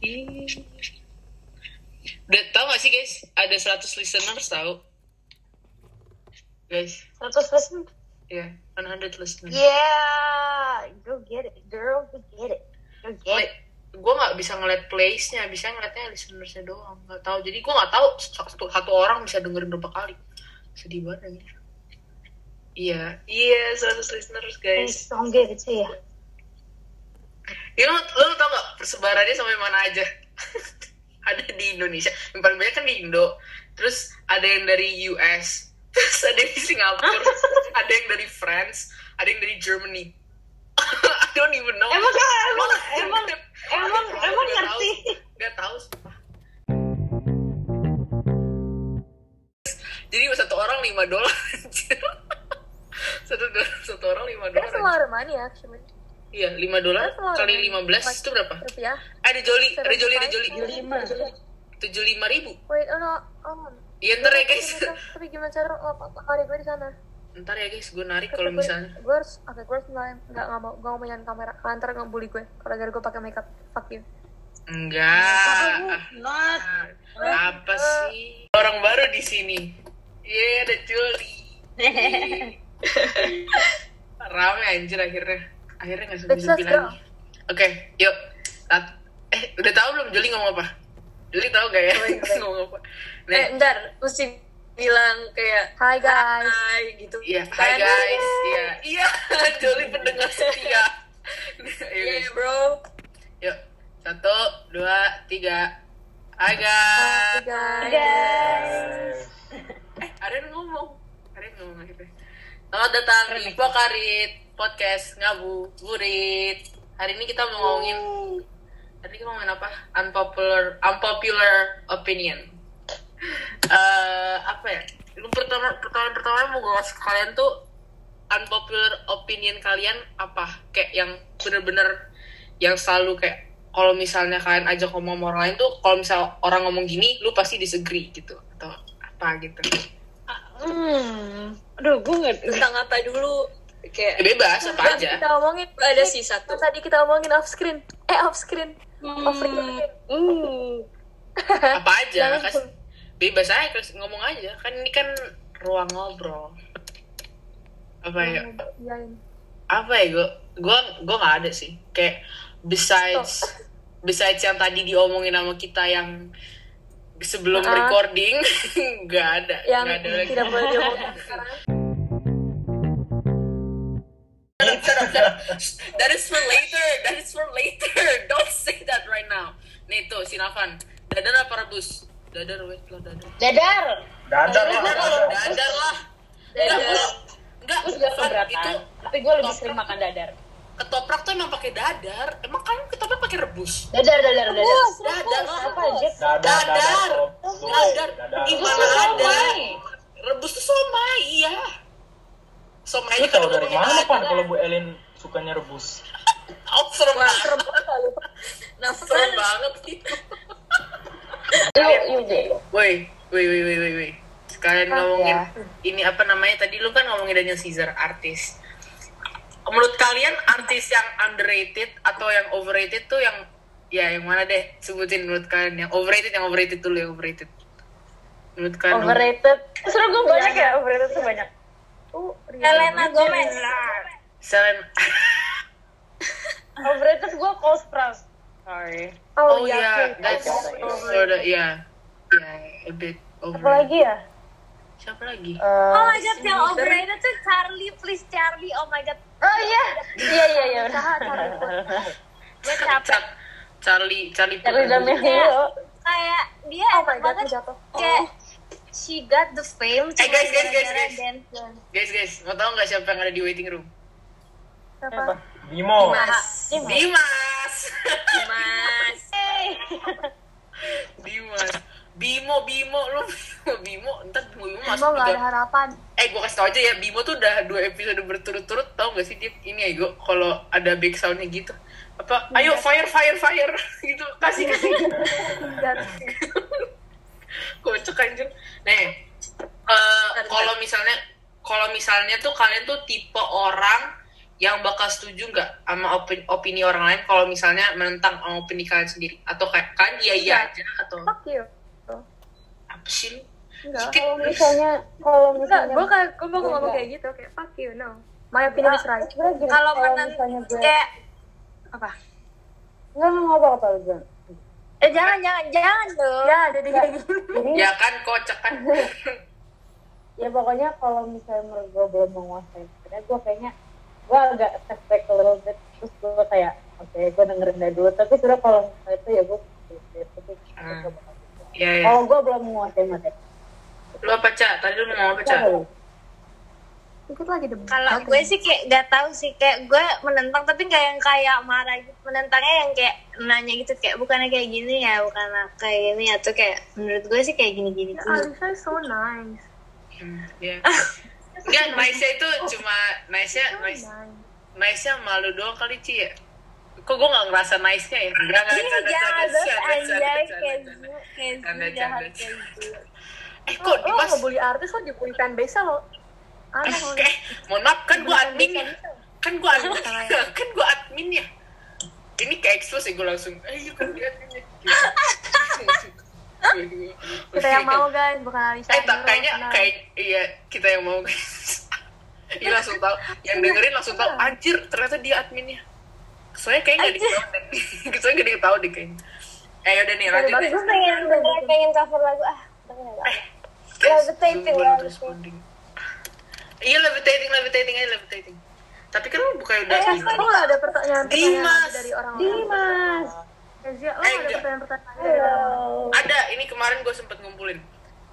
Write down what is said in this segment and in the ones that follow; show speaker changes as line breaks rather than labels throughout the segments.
Ih. Iya. Udah tau gak sih guys, ada 100 listeners tau. Guys,
100 persen.
ya, 100 listeners.
Yeah, go get it, girl, go get it, go get
Wait,
it.
gue nggak bisa ngeliat place-nya, bisa ngeliatnya listenersnya doang. Gak tau, jadi gue nggak tahu satu, satu orang bisa dengerin berapa kali. Sedih banget anjir. Iya, iya 100 listeners guys.
Please don't give it to you.
Ya, lo, lo tau gak persebarannya sampai mana aja? ada di Indonesia, yang paling banyak kan di Indo. Terus ada yang dari US, terus ada yang di Singapura, ada yang dari France, ada yang dari Germany. I don't even know.
Emang kan, emang,
Lo-
emang, emang,
Gak tahu, gak
emang
tahu.
ngerti.
Gak tahu. sumpah. Jadi satu orang 5 dolar. anjir. satu, do- satu orang 5
That's a
dolar.
lot of money actually.
Iya, 5 dolar
That's a lot of
kali
money.
15 itu berapa?
Rupiah.
Eh, Ada Joli, ada Joli, ada Joli.
75.
75 ribu.
Wait, oh no, oh.
Iya ntar ya guys.
Tapi gimana cara hari gue di sana?
Ntar ya guys, gue narik kalau misalnya.
gue harus, oke gue harus mulai nggak nggak mau gue mau mainin kamera. Kalau ntar ngebully gue, kalau gara gue pakai makeup, fuck you.
Enggak.
Not.
Apa sih? Orang baru di sini. Iya, ada Joli. Rame anjir akhirnya. Akhirnya gak
Let's
sembuh-sembuh
go.
lagi. Oke, yuk. Tat- Eh, udah tahu belum Joli ngomong apa? Joli tahu gak ya? ngomong apa? Nih,
Eh, ntar mesti bilang kayak
Hi guys.
hai gitu.
iya. Hai
Kan?
guys. Iya. Iya, Joli pendengar setia. Ayo iya, guys.
Yeah, Iya, bro.
Yuk, satu, dua, tiga. Hai guys.
Hi guys.
Guys.
Eh, Arin ngomong. Arin ngomong akhirnya. Selamat datang di Bokarit Podcast Ngabu Burit. Hari ini kita mau ngomongin Hari ini kita mau ngomongin apa? Unpopular unpopular opinion. Eh, apa ya? Ini pertama pertanyaan pertama yang mau gue kasih ke kalian tuh unpopular opinion kalian apa? Kayak yang bener-bener yang selalu kayak kalau misalnya kalian ajak ngomong sama orang lain tuh kalau misal orang ngomong gini lu pasti disagree gitu atau apa gitu
Hmm. Aduh, gue nggak.
Tentang apa dulu?
Ya,
Kayak
bebas apa
Tadi
aja
Kita omongin
ada sih satu.
Yang Tadi kita omongin off screen. Eh off screen. Off screen.
Hmm.
apa aja
Jangan
kas, bebas aja kas, ngomong aja kan ini kan ruang ngobrol apa ya
Iya, Iyain.
apa ya gue gue gue nggak ada sih kayak besides besides yang tadi diomongin sama kita yang sebelum
Ah.
recording nggak ada
Yang
nggak ada lagi
tidak boleh diomongin.
that is for later that is for later don't say that right now nih tuh sinavan dadar apa rebus dadar wait lah dadar
Dadar.
Dadar lah.
dadar lah Enggak, kalau- enggak,
Gue juga
Van, itu
keberatan. Tapi gue lebih sering makan dadar.
ketoprak tuh emang pakai dadar. Emang kalian ketoprak pakai rebus?
Dadar, dadar, dadar.
Dadar lah.
Apa aja?
Dadar.
Dadar. Dadar.
Dadar.
Di
Rebus
mana
tuh
ada?
somai.
Rebus tuh somai, iya. Somai
Lu
kan
tahu dari
pakai
mana
dadar.
pan kalau Bu Elin sukanya rebus?
Oh, serem banget.
Nah,
Serem banget gitu.
Lu, lu deh.
Woi, woi, woi, woi, woi, woi. Sekalian
ya?
ngomongin ini apa namanya tadi lu kan ngomongin Daniel Caesar artis. Menurut kalian artis yang underrated atau yang overrated tuh yang ya yang mana deh sebutin menurut kalian yang overrated yang overrated dulu yang overrated. Menurut kalian
Overrated. Seru gue banyak ya overrated tuh banyak.
Uh, Rihanna.
Elena Gomez.
Selen
Overrated gue Cole Sprouse. Sorry.
Oh,
iya,
yeah,
oke.
that's sort of yeah. Yeah, Iya, a bit over.
Apa lagi ya?
Siapa lagi?
Oh my god, yang overrated tuh Charlie, please Charlie. Oh my god,
Oh iya. Iya, iya, iya. benar.
Tahan, tahan.
gue capek.
Char- Charlie Charlie Puth.
Dari Damilio.
Kayak dia
Oh
enak
my god,
banget.
gue jatuh.
Kayak she got the fame.
Eh, guys, guys, guys,
gara-gara
guys.
dance dan
Guys, guys, mau tau nggak siapa yang ada di waiting room?
Siapa?
Bimo.
Mas,
Dimas.
Mas.
Dimas Bimo Bimo lu Bimo Bimo ntar Bimo
Emang
masuk
gak ada
tiga
harapan.
eh gue kasih tau aja ya Bimo tuh udah dua episode berturut-turut tau gak sih dia ini ya gue kalau ada back soundnya gitu apa ayo
Iya.
fire fire fire gitu kasih kasih
Enggak.
kocak anjir nih eh, kalau misalnya kalau misalnya tuh kalian tuh tipe orang yang bakal setuju nggak sama opini, opini orang lain kalau misalnya menentang opini kalian sendiri atau kayak kan iya iya aja atau
fuck you
apa sih lu?
enggak
Dikit.
Kalau misalnya, kalau
enggak
misalnya, Iya,
gue kayak gue mau ngomong kayak gitu kayak fuck you no my opinion is right
Sebenarnya gini,
Kalau
kalau
menent-
misalnya gue,
kayak apa?
nggak mau ngomong apa lu Jon.
Eh, jangan jangan jangan dong.
ya jadi kayak gini
Jadi
ya kan kocak kan
ya pokoknya kalau misalnya menurut gue belum menguasai sebenarnya gue kayaknya gue agak step back a little bit terus gue kayak oke gue dengerin dari dulu tapi sudah kalau misalnya itu ya gue
Hmm. ya ya
kalau gue belum menguasai materi
lu apa cak tadi lu mau apa
Gua
cak
belum.
ikut lagi deh
Kalau gue sih kayak gak tahu sih kayak gue menentang tapi nggak yang kayak marah gitu menentangnya yang kayak nanya gitu kayak bukannya kayak gini ya bukan kayak gini atau kayak menurut gue sih kayak gini
Ah,
gini dulu.
Alisa is so nice
Hmm, ya enggak nice itu cuma nice nya
so
nice
nice
nice nya malu doang kali Ci ya kok gue gak ngerasa nice nya ya enggak enggak bercanda,
Iya jangan
bercanda,
terus
bercanda,
aja
bercanda,
kayak
bercanda.
gitu kayak
Canda,
gitu jahat
canda.
kayak gitu. Oh,
eh
lo
kok
lo
dimas
ngebully artis lo dibully fanbase nya lo aneh lo
eh mohon maaf kan gue admin ya kan gue admin
Salah
ya. kan gue admin ya ini kayak expose ya gue langsung eh you kan gue admin ya Gitu.
kita yang mau guys bukan Alisa
eh tak kayaknya kayak iya kita yang mau guys Iya langsung tahu, yang dengerin langsung tahu. Anjir, ternyata dia adminnya. Soalnya kayaknya nggak diketahui. deh. Soalnya nggak diketahui deh kayaknya. Eh udah nih lanjut deh.
Ya,
Gue pengen
gitu.
bener pengen cover lagu ah. pengen ada. Levitating,
Belum
levitating.
responding. Iya levitating, levitating aja levitating. Tapi kan lu bukan udah
Eh,
ini.
kok nggak ada pertanyaan
Dimas.
pertanyaan dari orang
Dimas
Ezia, lo
Eh,
nggak ada
enggak.
pertanyaan-pertanyaan dari
halo
orang
Ada, ini kemarin gue sempet ngumpulin.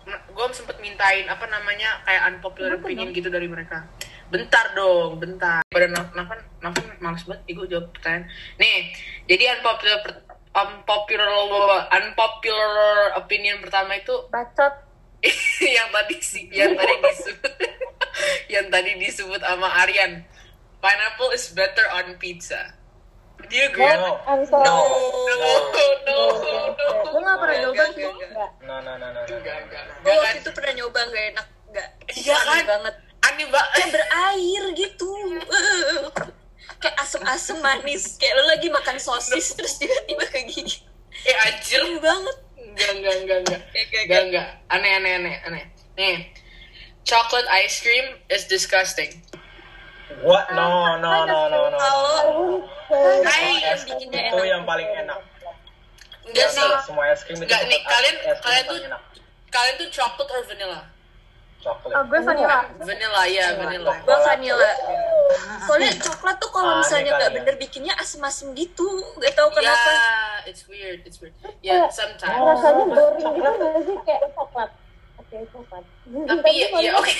Gue sempet mintain apa namanya kayak unpopular opinion gitu dari mereka. Bentar dong, bentar. Pada Nafan, Nafan males banget, ih gue jawab pertanyaan. Nih, jadi unpopular per- unpopular unpopular opinion pertama itu
bacot
yang tadi si yang tadi disebut yang tadi disebut sama Aryan pineapple is better on pizza do you agree
No,
I'm sorry
no no
Oh,
no no
gue nggak pernah nyoba
Enggak,
sih
enggak, enggak.
no, no, no, no, no,
Enggak,
no.
enggak,
Gue
enggak
oh, waktu
kan?
itu pernah nyoba gak enak gak
Iya
aneh
kan?
banget
aneh banget
kayak berair gitu kayak asem-asem manis kayak lo lagi makan sosis terus tiba-tiba ke gigi
eh anjir
aneh banget
enggak enggak enggak enggak
Kayak gak-
enggak enggak aneh aneh aneh aneh nih chocolate ice cream is disgusting
What? No, no, no, no, no.
Tahu.
Hai,
Es
yang bikinnya
itu
enak.
yang paling enak.
enggak sih
Yang Semua es krim itu.
Enggak, nih,
tetap
kalian-
es krim
kalian
paling
tuh-
enak.
kalian tuh chocolate or vanilla
Coklat.
oh, gue vanilla
vanilla ya vanilla
gue vanilla
Ah,
soalnya coklat tuh
Aneh
kalau misalnya nggak
kali ya.
bener bikinnya asem-asem gitu gak tahu
Ya,
kenapa
it's weird, it's weird. Ya, sometimes.
rasanya boring gitu nggak sih kayak coklat oke coklat
Tapi ya, ya oke.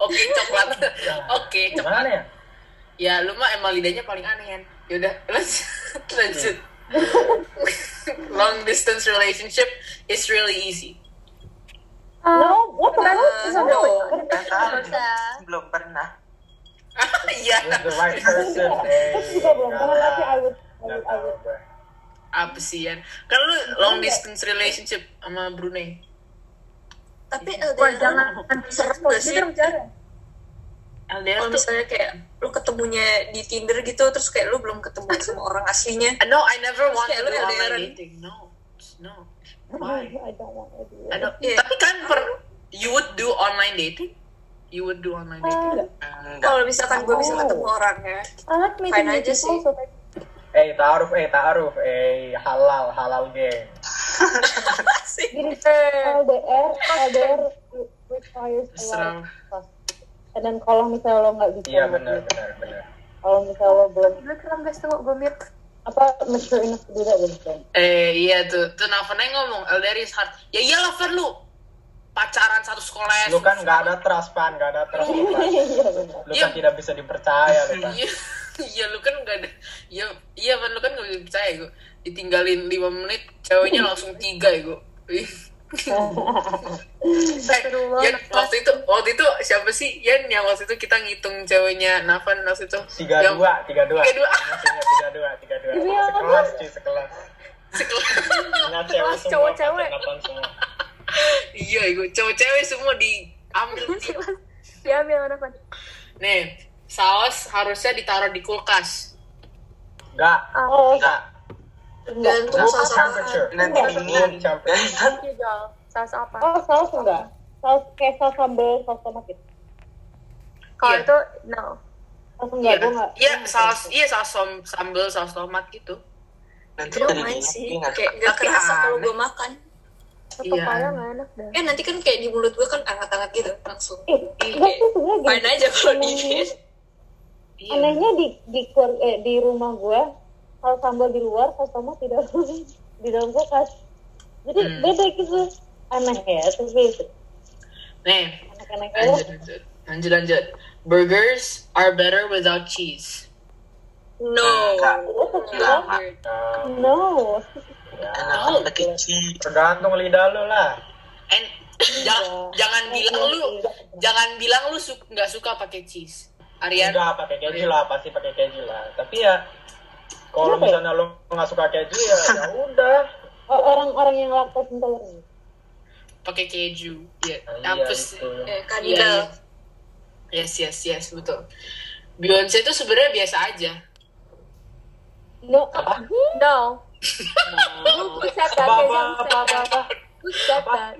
Oke, coklat. Oke, coklat.
Gimana ya?
Ya, lu mah emang lidahnya paling aneh, kan? Yaudah, lanjut. lanjut. Long distance relationship is really easy.
no what the hell no
belum pernah
With
Iya.
the right person.
Aku juga belum pernah tapi I would I
Gak
would- I
tahu,
would
bro.
Apa sih, Yan? Kan lu long distance relationship sama Brunei.
tapi
wah
LDR
jangan
serem gak sih
LDR
kalau
Oh, tuh...
misalnya kayak lu ketemunya di Tinder gitu terus kayak lu belum ketemu sama orang aslinya
eh, No, I never want to
Kayak
do
lu LDR-an.
online dating. No. No. Why?
I don't want to do it.
I don't-
Iya.
Tapi kan per... You would do online dating? You would do online dating?
enggak
kalau misalkan gue bisa ketemu orangnya
I like meeting
Fine
new
aja sih.
people so that
Eh, ta'aruf, eh, ta'aruf, eh, halal, halal game.
sih
Gini, LDR, LDR requires a lot
Serang.
of trust. And then kalau misalnya lo nggak bisa,
Iya, benar, benar, benar.
Kalau misalnya lo belum
gue keren guys tunggu gue mute
apa mature enough to do that with them.
Eh iya tuh, tuh Navan aja ngomong LDR is hard. Ya iyalah Fer lu pacaran satu sekolah.
Lu kan gak ada trust, Pan, gak ada trust. Pan.
Iya benar.
Lu kan tidak bisa dipercaya, lu, Pan.
Iya, iya lu kan gak ada. Iya iya Fer lu kan gak bisa percaya gue. Ditinggalin 5 menit, ceweknya langsung tiga ya gue. Yan, waktu itu waktu itu siapa sih Yan yang waktu itu kita ngitung ceweknya Navan waktu itu
tiga
yang
dua tiga dua
Tiga dua.
tiga dua tiga dua
Iya,
sekelas cuy sekelas
sekelas.
ingat cewek semua
cowok-cewek.
pacaran semua
iya gue cowok-cewek semua diambil
Diambil anak
Nih, saus harusnya ditaruh di kulkas.
Enggak,
Oh,
Enggak.
Gantung
Room
saus
temperature.
Nanti
Enggak.
dingin.
Campur.
Iya.
Nanti
Iya, saus apa?
oh saus enggak? Saus kayak saus sambal, saus tomat gitu.
Kalau
iya.
itu no.
Saus enggak, gue enggak.
Iya,
gue enggak
saus,
suka.
iya saus som- sambal, saus tomat gitu.
nanti
Belum
jadi
main
dingin.
iya
sih.
Nggak
Kayak gak kerasa kalau gue makan.
Tetep
Iya.
aja nggak enak deh.
Eh nanti kan kayak di mulut gue kan anget-anget gitu langsung.
Ih, enggak sih sebenarnya gini.
Main aja kalau dingin.
Iya.
Anehnya di di keluar- eh, di rumah gue saus sambal di luar, saus tomat di dalam di dalam kulkas. Jadi
Hmm.
beda gitu. Aneh ya, tapi
Nih,
anak-anak
lanjut, lanjut. Lanjut, lanjut. Burgers are better without cheese.
No.
Enggak.
Enggak. oh, No.
Enak
Oh.
pakai
Ya,
cheese.
Tergantung lidah lu lah.
And jangan, jangan bilang lu, jangan bilang lu su- nggak suka pakai cheese. Arian,
Enggak pakai keju lah, pasti pakai keju lah. Tapi ya kalau
Kenapa ya?
misalnya lu nggak suka keju ya ya udah.
Oh, orang-orang yang laktos intoleran.
pakai keju. Iya,
Nah, iya,
apa sih?
gitu.
Eh,
Iya,
kadal.
iya. Yes, yes, yes, betul. Beyonce itu sebenarnya biasa aja.
No.
No.
Nah,
Who said that? They
Apa, apa,
don't
apa,
say that.
apa?
Who said that?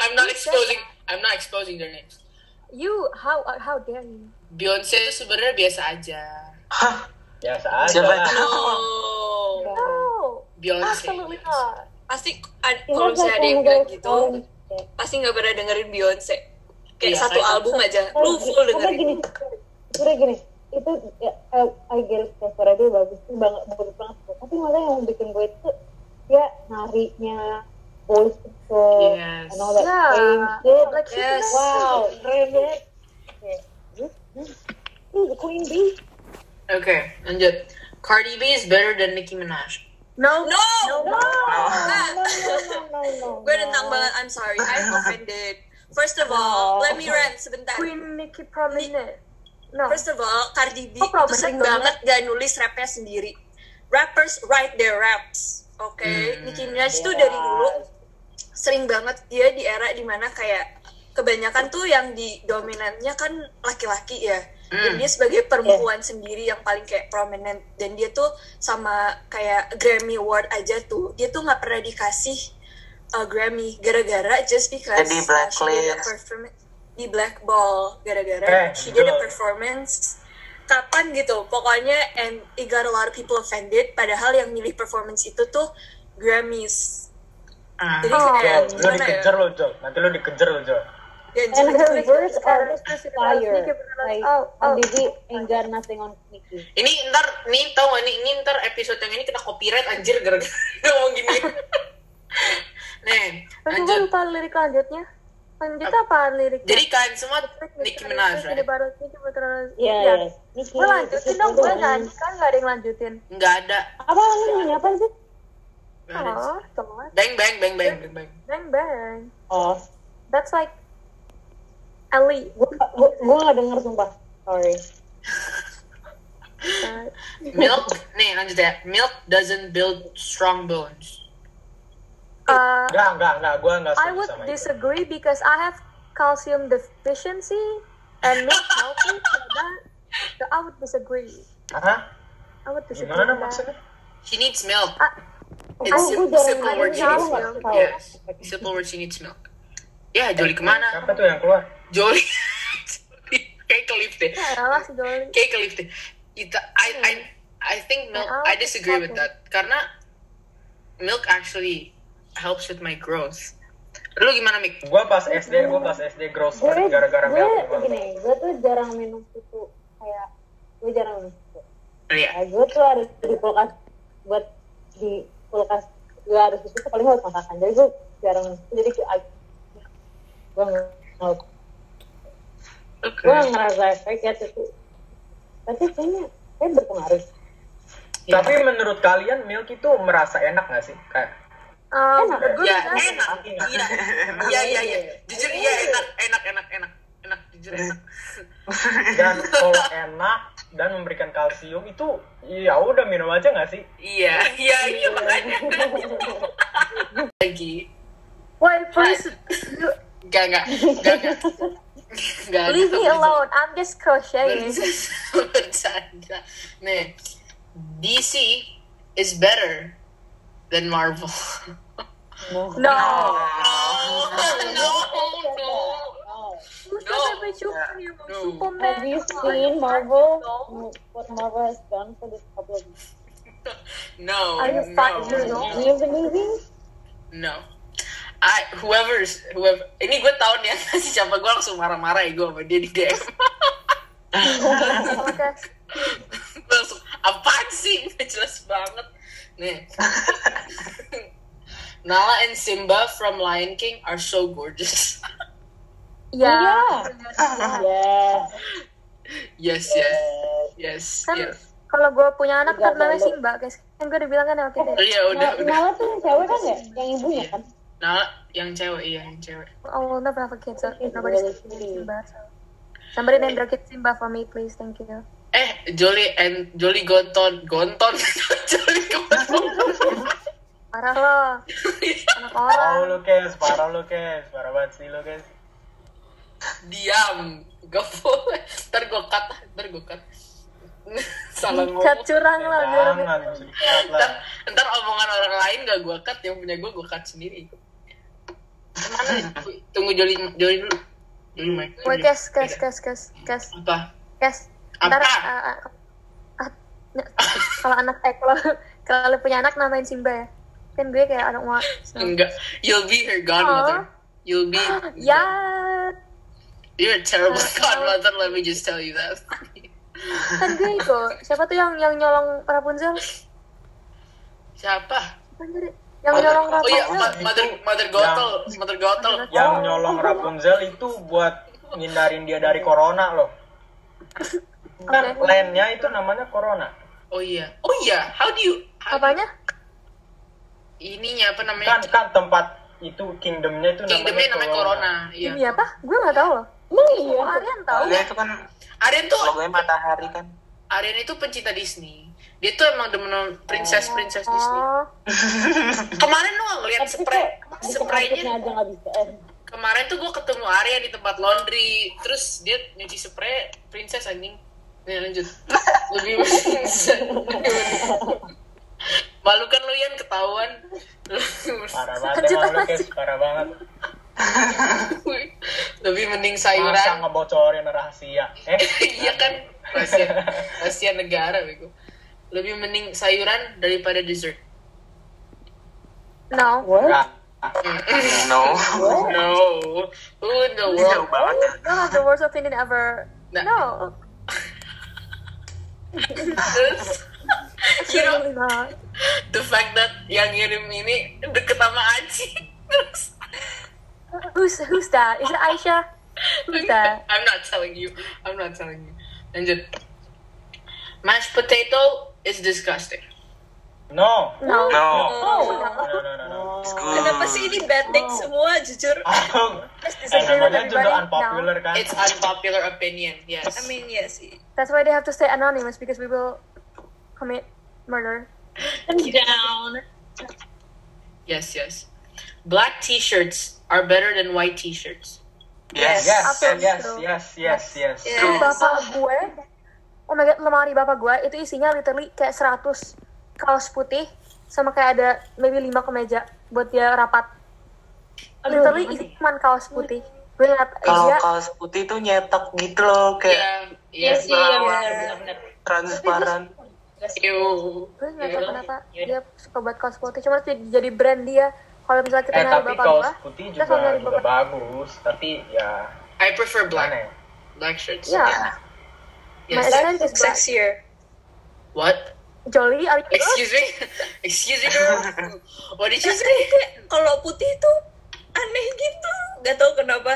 I'm not exposing, I'm not exposing their names.
You how how dare you?
Beyonce itu sebenarnya biasa aja.
Hah,
Biasa aja
Siapa
lah.
Iya.
itu?
No.
No.
Beyonce.
Absolutely not.
Pasti ad- kalau misalnya Iya, ada yang bilang gitu, pasti nggak pernah dengerin Beyonce. Kayak
Iya,
satu
kayak-
album aja, lu full
Udah
dengerin.
gini. Udah gini. Itu ya, eh, I get it, ya, suara dia bagus. Itu banget bagus banget. Tapi malah yang bikin gue itu ya narinya voice control
Iya.
Yes.
and all that
Yeah.
same shit.
Like, she's
Yes.
Wow, keren banget. Kayak, hmm, hmm. Ini the Queen Bee.
Oke, lanjut. Cardi B is better than Nicki Minaj.
No.
No.
No, no,
Ah.
no, no, no,
Gue
no.
tentang banget, I'm sorry, I'm offended. First of all,
No.
let me rant sebentar.
Queen Nicki prominent. No.
First of all, Cardi B
Oh,
itu
problem
sering
banget.
banget gak nulis rapnya sendiri. Rappers write their raps, oke?
Hmm.
Nicki Minaj tuh dari dulu sering banget dia di era dimana kayak kebanyakan tuh yang di dominannya kan laki-laki ya. Dan
Hmm.
dia sebagai perempuan sendiri yang paling kayak prominent dan dia tuh sama kayak Grammy Award aja tuh dia tuh nggak pernah dikasih uh, Grammy gara-gara just because uh,
Jadi
she
blacklist.
did a perform- di blackball gara-gara
Eh,
she did a
betul.
performance kapan gitu pokoknya and it got a lot of people offended padahal yang milih performance itu tuh Grammys
Ah.
jadi
Oh.
kayak
Jol, Lu
gimana ya
dikejar lu, Jol. Nanti lu dikejar lu, Jol.
Dan
And her
jadi-
verse are fire.
Nicki Minaj.
Like,
Oh, oh.
Cardi B ain't got nothing on Nicki.
Ini ntar, nih tau gak nih, ini ntar episode yang ini kita copyright anjir gara-gara ngomong gini. Nih,
Tapi gue
lanjut.
lupa lirik lanjutnya. Lanjutnya apaan liriknya?
Jadi kalian semua Nicki Minaj, right?
Iya,
Iya.
iya. Nicki.
Gue lanjutin dong, gue nyanyi kan gak ada yang lanjutin.
Nggak ada.
Apa lu nyanyi apa sih?
Nggak ada.
Oh, telat.
Bang, bang, bang, bang, bang, bang.
Bang bang.
Oh,
That's like Ellie.
gua gua, gua gak denger sumpah. Sorry.
Uh,
Milk, nih lanjut ya. Milk doesn't build strong bones.
uh,
Enggak, enggak, enggak. Gua enggak
I
setuju
would
sama itu.
disagree because I have calcium deficiency and milk healthy. so that- so I would disagree.
Hah?
I would disagree. with
Gimana
that.
maksudnya?
She needs milk.
Ah.
It's
Oh,
simple,
gua jarang
simple
nyanyi,
word she needs
tahu nggak
milk.
tahu.
Yes. Simple word she needs milk. Ya, Joli kemana?
Siapa tuh yang keluar?
Joli. Joli. Kayak ke lift deh.
Ya elah si Dolly.
Kayak ke lift deh. Itu, I, I, I
Hmm.
think milk,
Nah,
I disagree with that. Karena milk actually helps with my growth. Lu gimana, Mik?
Gua pas SD, gua pas SD gross
Gue
banget gara-gara
gue
milk.
gini, gue tuh jarang minum susu kayak gue jarang minum susu.
Iya.
Nah, gue tuh harus di kulkas buat di kulkas gue harus susu paling buat masakan. Jadi gue jarang minum susu. Jadi kayak gue nggak
Oke.
gue ngerasa efek ya susu. Tapi kayaknya kayak berpengaruh.
Tapi menurut kalian milk itu merasa enak nggak sih? Kayak
Um,
Enak.
good
Ya,
guy.
enak. Iya. Iya, iya, iya. Jujur, iya, enak, enak, enak, enak. Enak, jujur enak.
dan kalau enak dan memberikan kalsium itu ya udah minum aja nggak sih?
Iya, iya, iya, makanya. Lagi.
Wait, please.
Gak, gak, gak, gak. Nggak ada,
Leave me
bercanda.
alone. I'm just crocheting.
Bercanda. Bercanda. Nih, DC is better than Marvel.
No.
Oh, no, no.
Oh.
Who's
No.
the baby Superman?
No.
Superman.
Have you
Come on.
seen Marvel? What Marvel has done for this problem?
No,
Are you fucking
no,
joking?
Do you believe me?
no. I, whoever, whoever, ini gue tau nih ya, siapa gue langsung marah-marah ya gue sama dia di DM.
Okay.
Gue langsung, apaan sih? Nggak jelas banget. Nih. Nala and Simba from Lion King are so gorgeous.
Yeah.
Yes,
Yes.
yes, yes,
Kan
yes.
kalau gue punya anak
Tiga
kan namanya
balik.
Simba guys. Kan gue udah bilang kan sama kita. ya.
Oh, Iya, udah,
Nah,
udah.
Nala tuh yang cewek kan ya? Yang ibunya kan?
Nala yang cewek, iya, yang cewek.
Oh, we'll never have a kid, so nobody's gonna be Simba. So. Somebody name their kid Simba for me, please. Thank you.
Eh, Jolly and Jolly Gonton, Gonton, Jolly Gonton.
Parah lo. Anak orang.
Parah lu kes, parah lu kes, parah banget sih lu kes.
Diam, gak boleh. Ntar gue cut, ntar gue cut. Salah
Cat
ngomong.
curang lo.
Jangan, nggak usah dikat lah.
Ntar, ntar omongan orang lain gak gue cut, yang punya gue gue cut sendiri. Mana? Tunggu Jolly, Jolly dulu. Jolly main.
Wait, guys, guys, guys, guys, guys,
Apa?
guys.
Apa?
Ntar, uh, uh, uh, n- kalau anak, eh, kalau kalau lu punya anak namain Simba ya. Kan gue kayak anak want. So.
Enggak. You'll be her godmother. You'll be.
Ya,
You're a terrible godmother. Let me just tell you that.
kan gue itu. Siapa tuh yang yang nyolong Rapunzel?
Siapa?
Siapa sih? Yang nyolong
Oh iya,
Rapunzel.
ma- mother mother gotol, mother gotol.
Yang nyolong Rapunzel itu buat ngindarin dia dari corona loh. Kan
Oke.
lainnya itu namanya corona.
Oh iya, oh iya. How do you? how-
Apanya?
Ininya apa
Kan
namanya?
kan tempat itu kingdomnya itu
Kingdomnya namanya corona. Iya.
Ini apa? Gue nggak tahu loh.
Emang iya?
Oh, Aryan tahu?
Dia itu kan
Aryan tuh,
logonya matahari kan.
Aryan itu pencinta Disney. Dia tuh emang demen sama princess-princess Disney.
Oh,
Kemarin lu nggak ngeliat
Tapi
spray,
kok bikin outfitnya
spraynya.
aja nggak bisa. Eh,
Kemarin tuh gue ketemu Aryan di tempat laundry. Terus dia nyuci spray princess anjing. Nih lanjut. Lebih Malu kan lu Yan ketahuan.
Parah banget emang lu kes, parah banget.
Lebih mending
Masa
sayuran.
ngebocorin rahasia. Eh,
Iya kan rahasia, rahasia negara bego. Lebih mending sayuran daripada dessert.
no.
What?
enggak.
No.
No. Who in the
Ini
world?
jauh banget. ya.
You have the worst opinion ever.
Nah.
No.
Terus you know,
Surely not.
the fact that yang ngirim ini deket sama Aci. Terus
Who's who's that? Is it Aisha? Who's that?
I'm not telling you. I'm not telling you. Lanjut. Mashed potato is disgusting.
No.
No.
No.
No, no, no, no.
It's
Iya.
Kenapa
good.
sih ini bad take semua jujur?
Eh, namanya juga unpopular kan.
It's unpopular opinion. Yes.
I mean ya sih.
That's why they have to stay anonymous because we will commit murder.
down.
Yes, yes. Black t-shirts are better than white t-shirts.
Yes.
Yes,
Apa
yes,
itu?
yes, yes, yes. Eh,
Yes.
Itu bapak gue. Oh my god, lemari bapak gue itu isinya literally kayak 100 kaos putih sama kayak ada maybe 5 kemeja buat dia rapat. Literally isinya cuma kaos putih. Gue eh, iya, ngeliat
Kalau
dia
kaos putih tutuh nyetak gitu loh kayak
Yeah. Yes.
sih, iya, benar, transparan.
Ew.
gue nggak tahu kenapa dia suka buat kaos putih cuma itu jadi brand dia kalau misalnya kita
Eh
nyari
tapi
bapak
kaos
gua
putih
kita kalau
juga
nyari
juga
bapak
bagus, tapi ya
I prefer black.
aneh.
Black shirts.
ya my
Yes.
essence is black.
Sexier.
What?
Jolly are you good?
Excuse me? Excuse me, girl? What did you say?
Kalau putih tuh aneh gitu. Gak tau kenapa.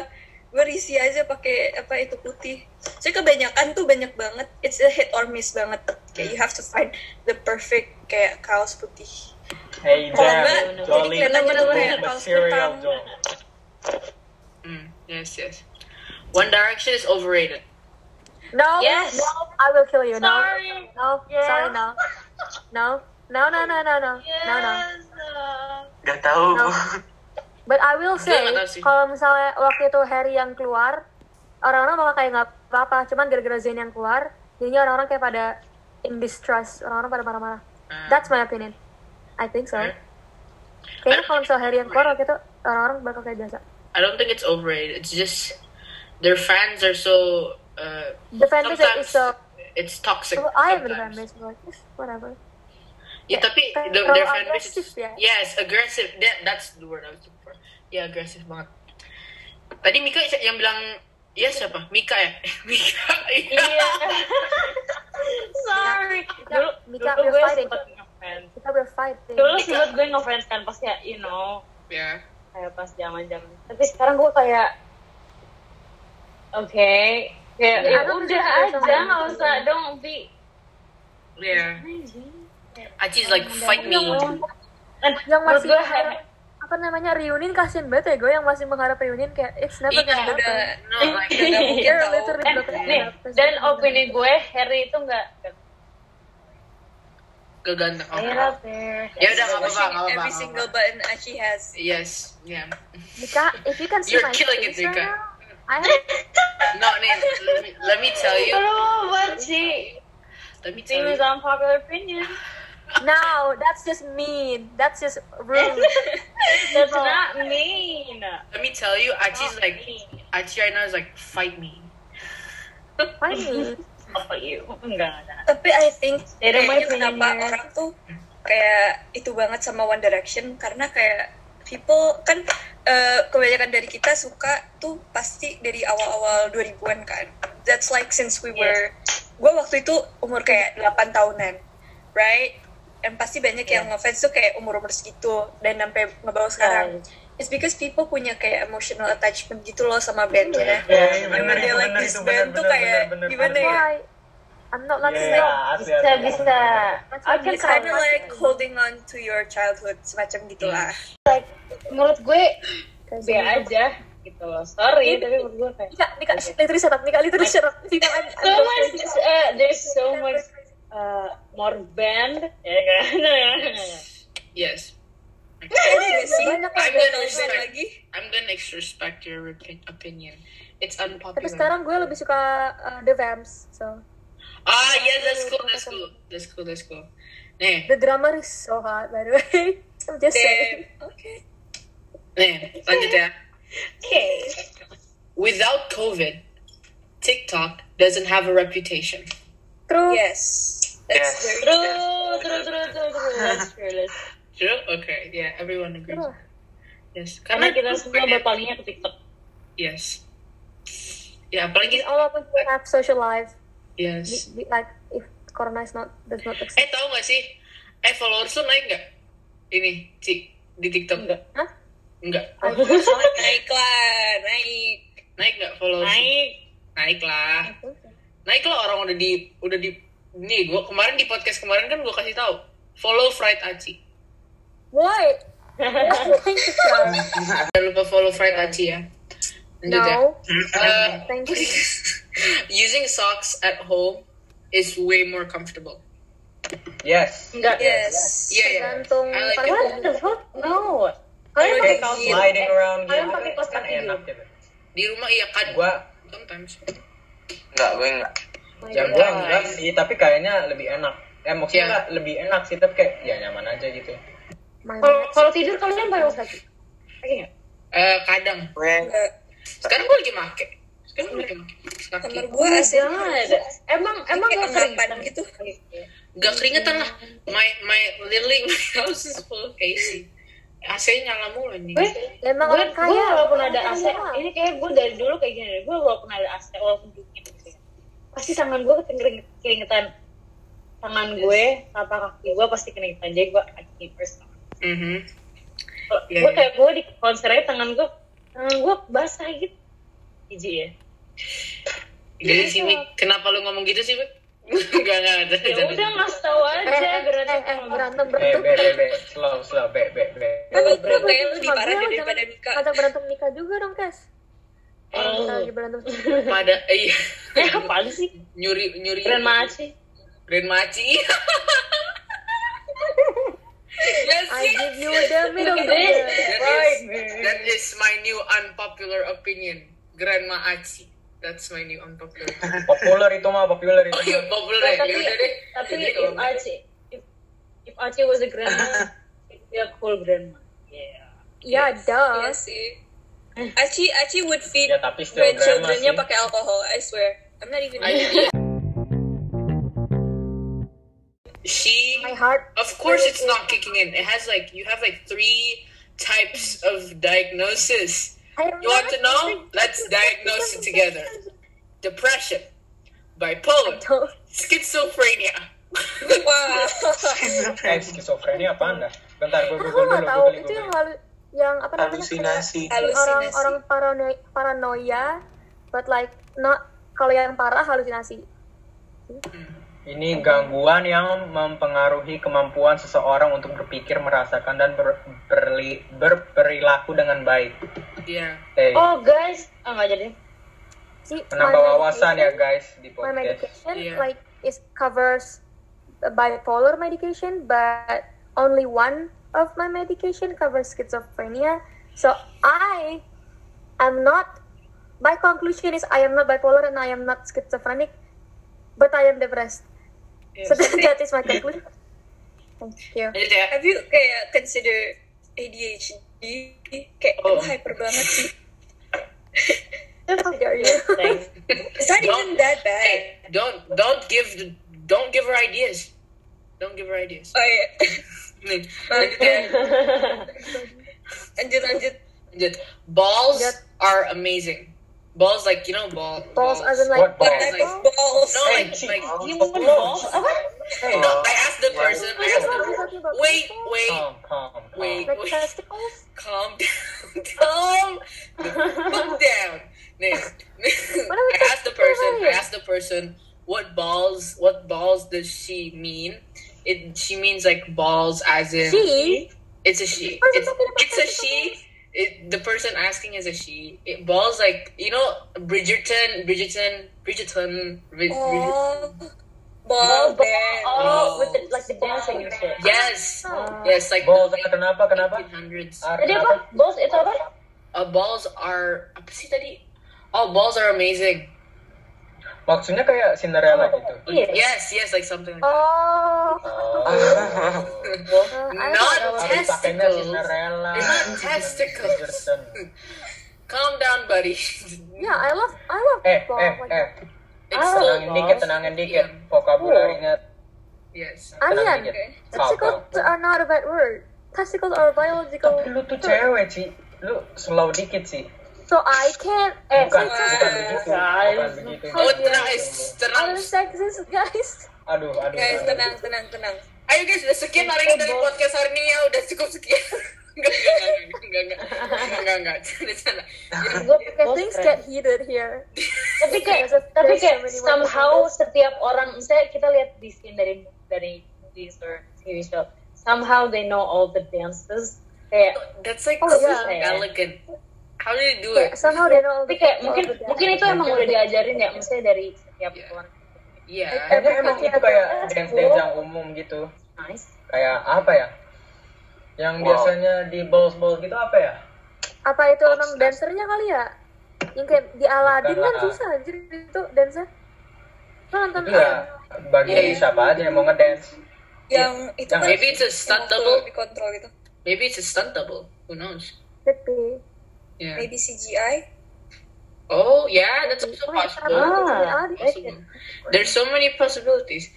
Gue risih aja pakai apa itu putih. Soalnya kebanyakan tuh banyak banget. It's a hit or miss banget. Kayak you have to find the perfect kayak kaos putih.
Hey
Kalau
there,
enggak,
jolly
jadi kena bener-bener
good
kayak kaos
material
hitam.
dong.
Mm, yes, yes. One Direction is overrated.
no
Yes.
no I will kill you no
Sorry.
no
Yes.
sorry no no no no no no no no no
Yes.
Gak tahu.
No. but I will say
uh. nggak tahu sih.
kalau misalnya waktu itu Harry yang keluar orang-orang bakal kayak nggak apa-apa cuman gara-gara Zayn yang keluar jadinya orang-orang kayak pada in distrust orang-orang pada marah-marah
Uh,
that's my opinion I think so
Hmm.
kayaknya kalau misalnya Harry yang keluar waktu itu orang-orang bakal kayak biasa
I don't think it's over it. It's just their fans are so. Uh,
the fanbase is
sometimes
so
It's toxic.
well, I am the
sometimes.
fanbase but like, whatever
Ya,
Kayak
tapi
terlalu
the- their fanbase
agresif
is-
ya.
Yes, aggressive. That that's the word I was looking for. Ya, agresif banget. Tadi Mika yang bilang ya siapa? Mika ya? Mika. Iya.
Sorry. Dulu,
Mika,
dulu
we're
gue
fighting.
sempet ngefans.
kita will fight deh.
Dulu sempet gue ngefans kan pas ya, you know,
Ya.
kayak pas zaman zaman.
tapi sekarang gue kayak
Oke, kayak
Ya,
ya,
aku
udah
juga sama
aja
gitu.
nggak usah dong, Vi.
Ya. Aci's like fight me.
Kan,
yang
menurut
masih
gue
mengharap- apa namanya reunion kasihan banget ya gue yang masih mengharap reunion kayak it's never
Iya,
gonna happen
udah
No, like
udah nggak mungkin
You're
tau.
literally
eh,
broken
nih,
up.
dan opini gue Harry itu nggak nggak
keganteng. Oke.
clear up there.
Ya udah nggak apa-apa, nggak
Pushing
apa-apa,
every
nggak
single
apa-apa.
button that she has
Yes, yeah.
Mika if you can see
You're
my
killing it,
face right
Mika.
now, I have
No, nih, let me, let me tell you.
Aduh, buat sih.
Let me tell
Thing
you.
with unpopular opinion.
No, that's just mean. That's just rude. Iya.
That's not mean.
Let me tell you. Aci's like Aci right now is like fight me.
Why me?
Apa you? Enggak, enggak.
tapi I think
They don't
kayaknya
mind
kenapa
being there.
orang tuh kayak itu banget sama One Direction karena kayak people kan eh, kebanyakan dari kita suka tuh pasti dari awal-awal 2000-an kan that's like since we were gue waktu itu umur kayak 8 tahunan right dan pasti banyak yang ngefans tuh kayak umur-umur segitu dan sampai ngebawa sekarang it's because people punya kayak emotional attachment gitu loh sama bandnya
Iya,
And when
bener,
they
itu,
like
bener,
this
itu, bener,
band tuh
bener,
kayak
bener, bener,
gimana
bener.
ya
Why? I'm not letting
Iya,
go.
asli,
Bisa,
asli,
bisa.
That's
I
what
can
makes
It's
it
kind of
fun.
like holding on to your childhood semacam gitu
Iya.
gitulah.
Menurut gue, be aja gitu loh. Sorry, tapi menurut gue kayak
Mika, Mika, sh- literally shut up. Mika, literally shut up. Mika, I'm, I'm
so much. Uh, there's so much uh, more band, ya kan?
Yes.
Iya sih.
Banyak
I'm
yang
gonna
Terus
respect.
lagi.
I'm gonna respect your opi- opinion. It's unpopular.
Tapi sekarang gue lebih suka uh, The Vamps. So,
Ah, yeah, that's cool, that's cool, that's cool, that's cool. Nih,
the drummer is so hot, by the way. I'm just saying.
Damn. Okay.
nih, lanjut ya.
Okay.
Without COVID, TikTok doesn't have a reputation.
True.
Yes. That's
Yes.
very
True,
good.
true, true, true, true. Let's true, let's.
True? Okay, yeah, everyone agrees.
True.
Yes,
Karena
karena
kita semua berpalingnya ke TikTok.
Yes. Ya, apalagi
It's all about we have social life.
yes.
We, we, like, if Corona is not, does not
Eh,
exist.
tahu nggak sih? Eh, followers lu naik nggak? Ini, Ci, di TikTok?
Enggak.
Hah?
Enggak.
Naik lah, naik.
Naik nggak followers? lu?
Naik. ya?
naik lah naik lah orang udah di udah di nih gua kemarin di podcast kemarin kan gua kasih tahu follow fried aci
Why? Thank you, Kak.
jangan lupa follow fried aci ya lanjut ya
No,
Uh,
thank you.
using socks at home is way more comfortable
Yes.
Enggak.
Yes.
iya ya
Tergantung
I like it.
pada-
What the fuck? No. Kalian pakai kaos
Iya.
Sliding around
Kalian
gitu
pakai
kan,
kaos
kan
kaki
enak
dulu.
gitu.
di rumah iya kan
Gua
sometimes
Enggak, gue enggak.
Ya gue enggak sih, tapi kayaknya lebih enak. Eh maksudnya
Iya.
nggak lebih enak sih, tapi kayak ya nyaman aja gitu.
My
Kalau
bad.
kalau tidur kalian pakai kaos kaki. Pakai nggak?
Eh, kadang
Gue
Nggak.
sekarang gua lagi make sekarang gua lagi make kaki
Kamar gua asli.
Jangan. Emang emang
Kayak
gak
engapan
keringetan
gitu.
gak keringetan lah my my literally my house is full of AC AC nyala mulu nih
Gue
Ya, emang
gue
orang kaya.
gue walaupun ada
Orang
AC,
kaya.
Iya,
ini kayak gue dari dulu kayak gini. deh. Gue walaupun ada AC, walaupun dingin gitu ya. Pasti tangan gue kering- keringetan. Tangan gue, telapak kaki gue pasti keringetan. Jadi gue aki first.
Mhm. Iya,
Gue
iya.
kayak gue di konsernya tangan gue, tangan gue basah gitu. Iji ya. Iya,
Jadi sih, Mik, kenapa lu ngomong gitu sih, Mik? Enggak, enggak, enggak.
Ya
bercanda.
udah ngasih tahu
Eh,
aja
eh,
berarti.
eh, eh, berantem
Eh
berantem.
be be be, slow slow be be be.
Kan itu
Berantem
berantem
lu
sama
diparahin
gue, lu
daripada
jangan
Mika.
Ngajak berantem Mika juga dong,
Eh,
Kes. Kalau kita
oh.
lagi berantem.
Pada, eh, iya.
Eh apaan sih?
Nyuri, nyuri.
Keren banget sih.
Grand Maci. yes,
I
yes.
give you the middle
Eh,
finger.
That is, that is my new unpopular opinion. Grandma Aci. That's my new unpopular.
Populer itu mah, populer itu.
Oh iya, popular ya.
Oh, tapi
Yaudah deh.
tapi
Jadi
if
kalau-
Archie if, if Archie was a grandma, it'd be a cool grandma. Yeah.
Ya,
Iya
dah.
sih. Aci Aci would feed
Ya tapi still
the
grandma
childrennya
sih.
pakai alkohol. I swear. I'm not even.
I-
joking.
She
My heart.
Of course, it's not kicking in. It has like you have like three types of diagnosis. You want to know? Let's diagnose it together. Depression, bipolar, schizophrenia.
wow.
Eh, skizofrenia apa anda? Bentar, gue
Aku
google
nggak
dulu.
tahu
Google,
itu yang
google.
halu yang apa namanya? kayak-
halusinasi
Halusinasi.
orang-orang paranoia, paranoia but like not kalau yang parah halusinasi
Ini gangguan yang mempengaruhi kemampuan seseorang untuk berpikir, merasakan, dan ber- berli- berperilaku dengan baik.
Yeah.
Eh,
Oh guys, oh, nggak jadi.
See,
menambah
my
wawasan ya
medication-
guys di
my
podcast.
medication
Yeah.
like is covers bipolar medication but only one of my medication covers schizophrenia so I am not my conclusion is I am not bipolar and I am not schizophrenic but I am depressed so that, that is my conclusion thank you
Jadi kayak,
Have you kayak consider ADHD? Kayak
Oh.
lu hyper banget sih.
how dare you
Thanks.
It's not even that bad.
hey, don't don't give the- don't give her ideas. Don't give her ideas.
Oh iya.
Nih, jadi kayak,
Lanjut lanjut.
lanjut. Balls
Yep.
are amazing. Balls like you know ball.
balls as in like
What
What
balls?
type of balls?
No, like,
Hey,
like
balls.
Human balls? Apa?
Hey,
No, I asked the person. I
That's
asked
what
the,
I'm talking about.
wait, wait,
calm, calm, calm.
Wait.
like testicles
calm down, calm the fuck down. Nah,
What are we
I asked the
talking
person. I
about?
asked the person what balls. What balls does she mean? It she means like balls as in
She?
It's a she.
Why are we
It's,
talking about
it's a she. It, the person asking is a she. It balls like you know Bridgerton, Bridgerton, Bridgerton. Brid- Bridgerton.
Oh. Ball bear.
Oh, with the like the dancing and shit.
Yes,
Oh.
yes, like
Balls, kenapa, kenapa?
1800s.
Ah,
Jadi
kenapa?
apa? Balls itu apa?
Uh, balls are apa sih tadi? Oh, balls are amazing.
Maksudnya kayak Cinderella gitu.
Iya.
Yes, yes, like something. Like
Oh,
Ah. that.
I
Not
Tapi pakainya
testicles.
Cinderella.
It's not testicles.
Bridgerton.
Calm down, buddy.
yeah, I love, I love
Eh,
ball.
eh,
like,
eh.
It's still
Tenangin dikit, tenangin dikit. Vokabularinya
yes.
tenang
Onion.
dikit. Kau, kau.
Testicles are not a bad word. Testicles are biological.
Tapi lu tuh cewek, Ci. Lu slow dikit, Ci.
So I can't.
Eh,
Bukan,
Ci.
bukan begitu. Bukan
Guys.
begitu.
Oh, tenang, guys.
I'm
tenang.
sexist, guys.
Aduh, aduh.
Guys
aduh.
tenang tenang tenang.
Ayo guys, udah sekian hari kita dari podcast hari ini ya, udah cukup sekian. Enggak, enggak, enggak, enggak, enggak, enggak, enggak, canda, canda.
Gue
Okay, things get heated here.
tapi
There's
kayak
a-
tapi
there's
kayak
so many ways
somehow
to do
setiap orang misalnya kita lihat di scene dari dari movies or TV show somehow they know all the dances kayak
That's like
Oh,
so
yeah.
elegant. How do you do it?
this. Somehow they know. all the-
tapi kayak
all
mungkin
the-
mungkin itu emang udah diajarin ya misalnya dari setiap
Yeah.
orang
Yeah.
Kayaknya emang itu kayak dance-dance yang umum gitu.
nice
Kayak apa ya? Yang
Wow.
biasanya di balls-balls gitu apa ya?
Apa itu emang dansernya kali ya? Yang kayak di Aladdin kan
lah.
susah anjir itu dancer. Lo nonton
Itu ya bagi
Iya.
siapa aja yang mau ngedance.
Yang itu
Yang
kan
Maybe it's a stunt
dikontrol
double.
dikontrol gitu.
Maybe it's a stunt double. Who knows?
Aladdin?
Yeah.
Maybe CGI.
Oh yeah, that's also
Oh, it's
possible.
not-
Ah,
it's not-
Possible. There's so many possibilities.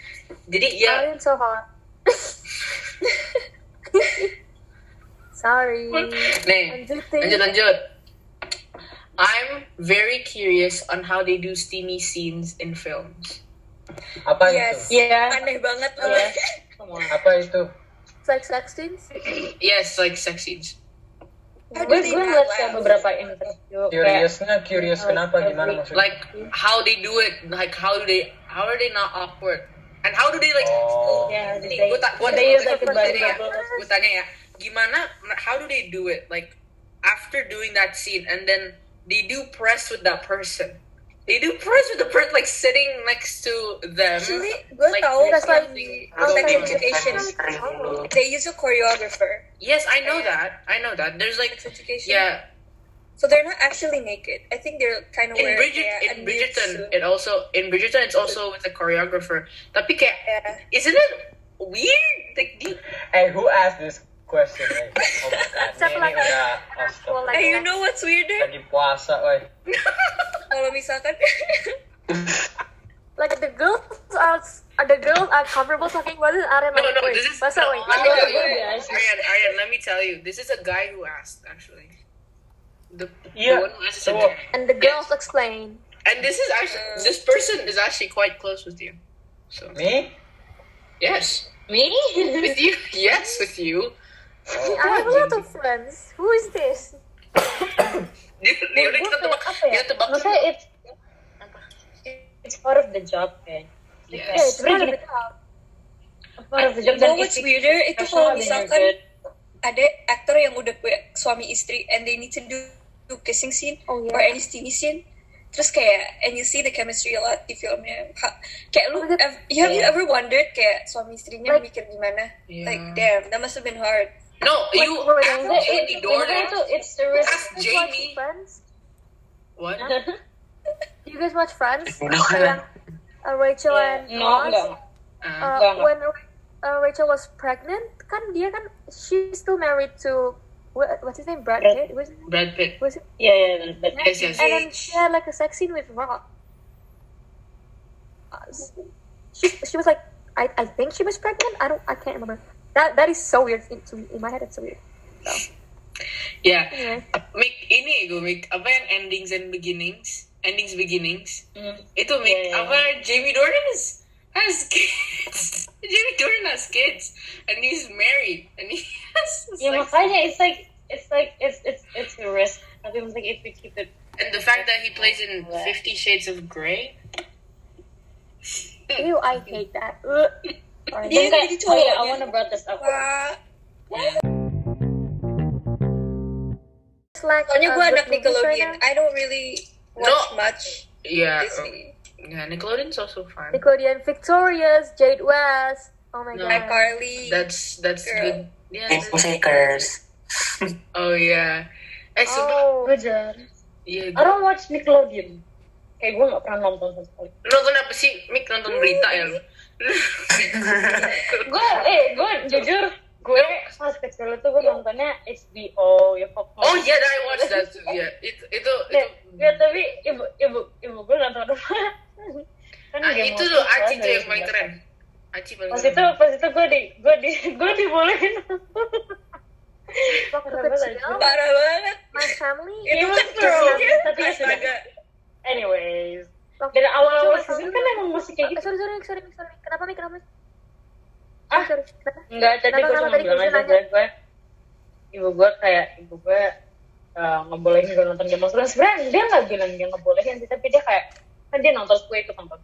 Jadi ya,
Alien so hot. Sorry.
nih, lanjut
Lanjutin.
lanjut. I'm very curious on how they do steamy scenes in films.
Apa
Yes. Ah,
itu?
iya
Aneh banget loh.
iya semua
Apa itu?
It's like sex scenes.
Yes, like sex scenes.
gue gue ngeliat kayak beberapa interview kayak
Curiousnya curious kenapa gimana maksudnya?
Like how they do it. Like how do they? How are they not awkward? And how do they like?
oh.
ya
Nih, gue tak gue
they use
tanya
like the
gue tanya ya,
bubble
gue tanya ya, gimana? How do they do it? Like after doing that scene, and then they do press with that person. They do press with the person like sitting next to them.
Actually, gue
Like,
tahu
that's like-
kan di
Oh,
Sex
like-
Education, they use a choreographer.
Yes, I know that. I know that. There's like
Sex Education.
yeah,
So they're not actually naked. I think they're kind of
in
wearing
Bridget
kayak a
in
nude
Bridgerton
suit.
it also in Bridgerton it's also with a choreographer tapi kayak
Yeah.
isn't it weird like do you,
Eh, who asked this question? Eh? Oh my god, ini, ini udah astaga.
And you know what's weirder?
Lagi puasa, oi.
Kalau misalkan
Like the girls are the girls are comfortable talking about it. Are
no no this is
Bahasa
no,
wait.
let me tell you
Yeah, it's-
Arian Arian let me tell you this is a guy who asked actually the,
Yeah,
the one who asked is a
so-
guy.
And the girls explain.
and this is actually this person is actually quite close with you so
Me?
yes
Me?
with you yes with you
Oh,
I have a lot of friends. Who is this?
dia dia udah kita tebak
apa ya?
kita tebak
Maksudnya it's it's part of the job kan.
Yes.
Eh, sebenarnya gini, part of the job
you know
dan
what's
it's
weirder itu
professional
kalau
and
misalkan
you're
ada aktor yang udah kayak suami istri and they need to do, do kissing scene
Oh, yeah.
or any steamy scene terus kayak and you see the chemistry a lot di filmnya Ha- kayak lu
Because-
ev- you have you ever wondered kayak suami istrinya
Iya. Like-
mikir gimana
Yeah.
like damn that must have been hard
no you
were they-
asked
good.
Jamie
It- sebenarnya
Dornan
itu it's the risk.
ask
You guys watch
Jamie
Friends?
what
You guys watch Friends?
Udah
Kayak, uh, Rachel
Yeah.
and
No,
Ross?
enggak.
Uh,
Uh,
Enggak, enggak.
when uh, Rachel was pregnant, kan dia kan she's still married to what, what's his name Brad
Brad.
Pitt. Was,
Brad Pitt
was it?
Yeah, yeah, but
Yes, yes.
And then she had like a sex scene with Rock. Uh, s- She, she was like, I, I think she was pregnant. I don't, I can't remember. That that is so weird in, to me. In my head, it's so weird.
Ya,
Anyway,
make ini gue make apa yang endings and beginnings, endings beginnings.
Mm.
Itu make
Yeah, yeah,
apa Jamie Dornan is has kids. Jamie Dornan has kids and he's married and he has
Ya
like-
makanya it's like it's like it's it's it's a risk. Tapi maksudnya if we keep it
and the fact that he plays in Fifty Shades of Grey.
ew, I hate that. Ugh. Sorry.
Dia
Dia
yang jadi
kayak, oh
cowoknya.
yeah, I wanna brought this up.
Uh,
wah
It's like,
soalnya
uh, good
gue anak
movies right
Nickelodeon
now.
I don't really watch
No.
much
Yeah, uh,
Disney
yeah, Nickelodeon's also fun.
Nickelodeon, Victorious, Jade West. Oh my
No.
god.
iCarly
That's that's
Girl.
good. Yeah.
Game
that's-
Shakers.
Oh yeah. Eh, sumpah,
Oh,
Belajar.
iya,
Oh,
I don't watch Nickelodeon. Kayak gue gak pernah nonton sama sekali.
Lu kenapa sih Mik nonton berita ya lu?
Gue, eh, gue jujur, gue pas kecil itu gue nontonnya HBO, ya Fox.
Oh yeah, I watched that too. Yeah, itu itu itu,
Ya, ya, tapi ibu, ibu, ibu gue nonton apa? kan
Ah,
dia
itu
mau
tuh
keluar
Aci tuh
dari
yang paling
sebelah.
keren. Aci paling
Pas itu,
keren.
pas itu gue di, gue di, gue dibolehin.
waktu
Kenapa
kecil,
parah banget
my family
itu kan
Iya,
trollnya
tapi ya sudah.
Astaga.
Anyways,
Waktu
dari
kecil,
awal-awal
my
season
family-
kan emang masih kayak
Eh,
gitu.
sorry, sorry, sorry, sorry. Kenapa, Mi? Kenapa?
Ah.
Sorry, sorry. Kenapa?
Enggak, tadi
Kenapa,
gue
kenapa
cuma
tadi
bilang
gue
aja
nanya?
gue, gue ibu gue kayak ibu gue eh, ngebolehin gue nonton Game of Thrones. Sebenarnya dia nggak bilang dia ngebolehin sih, tapi dia kayak kan dia nonton gue ikut nonton.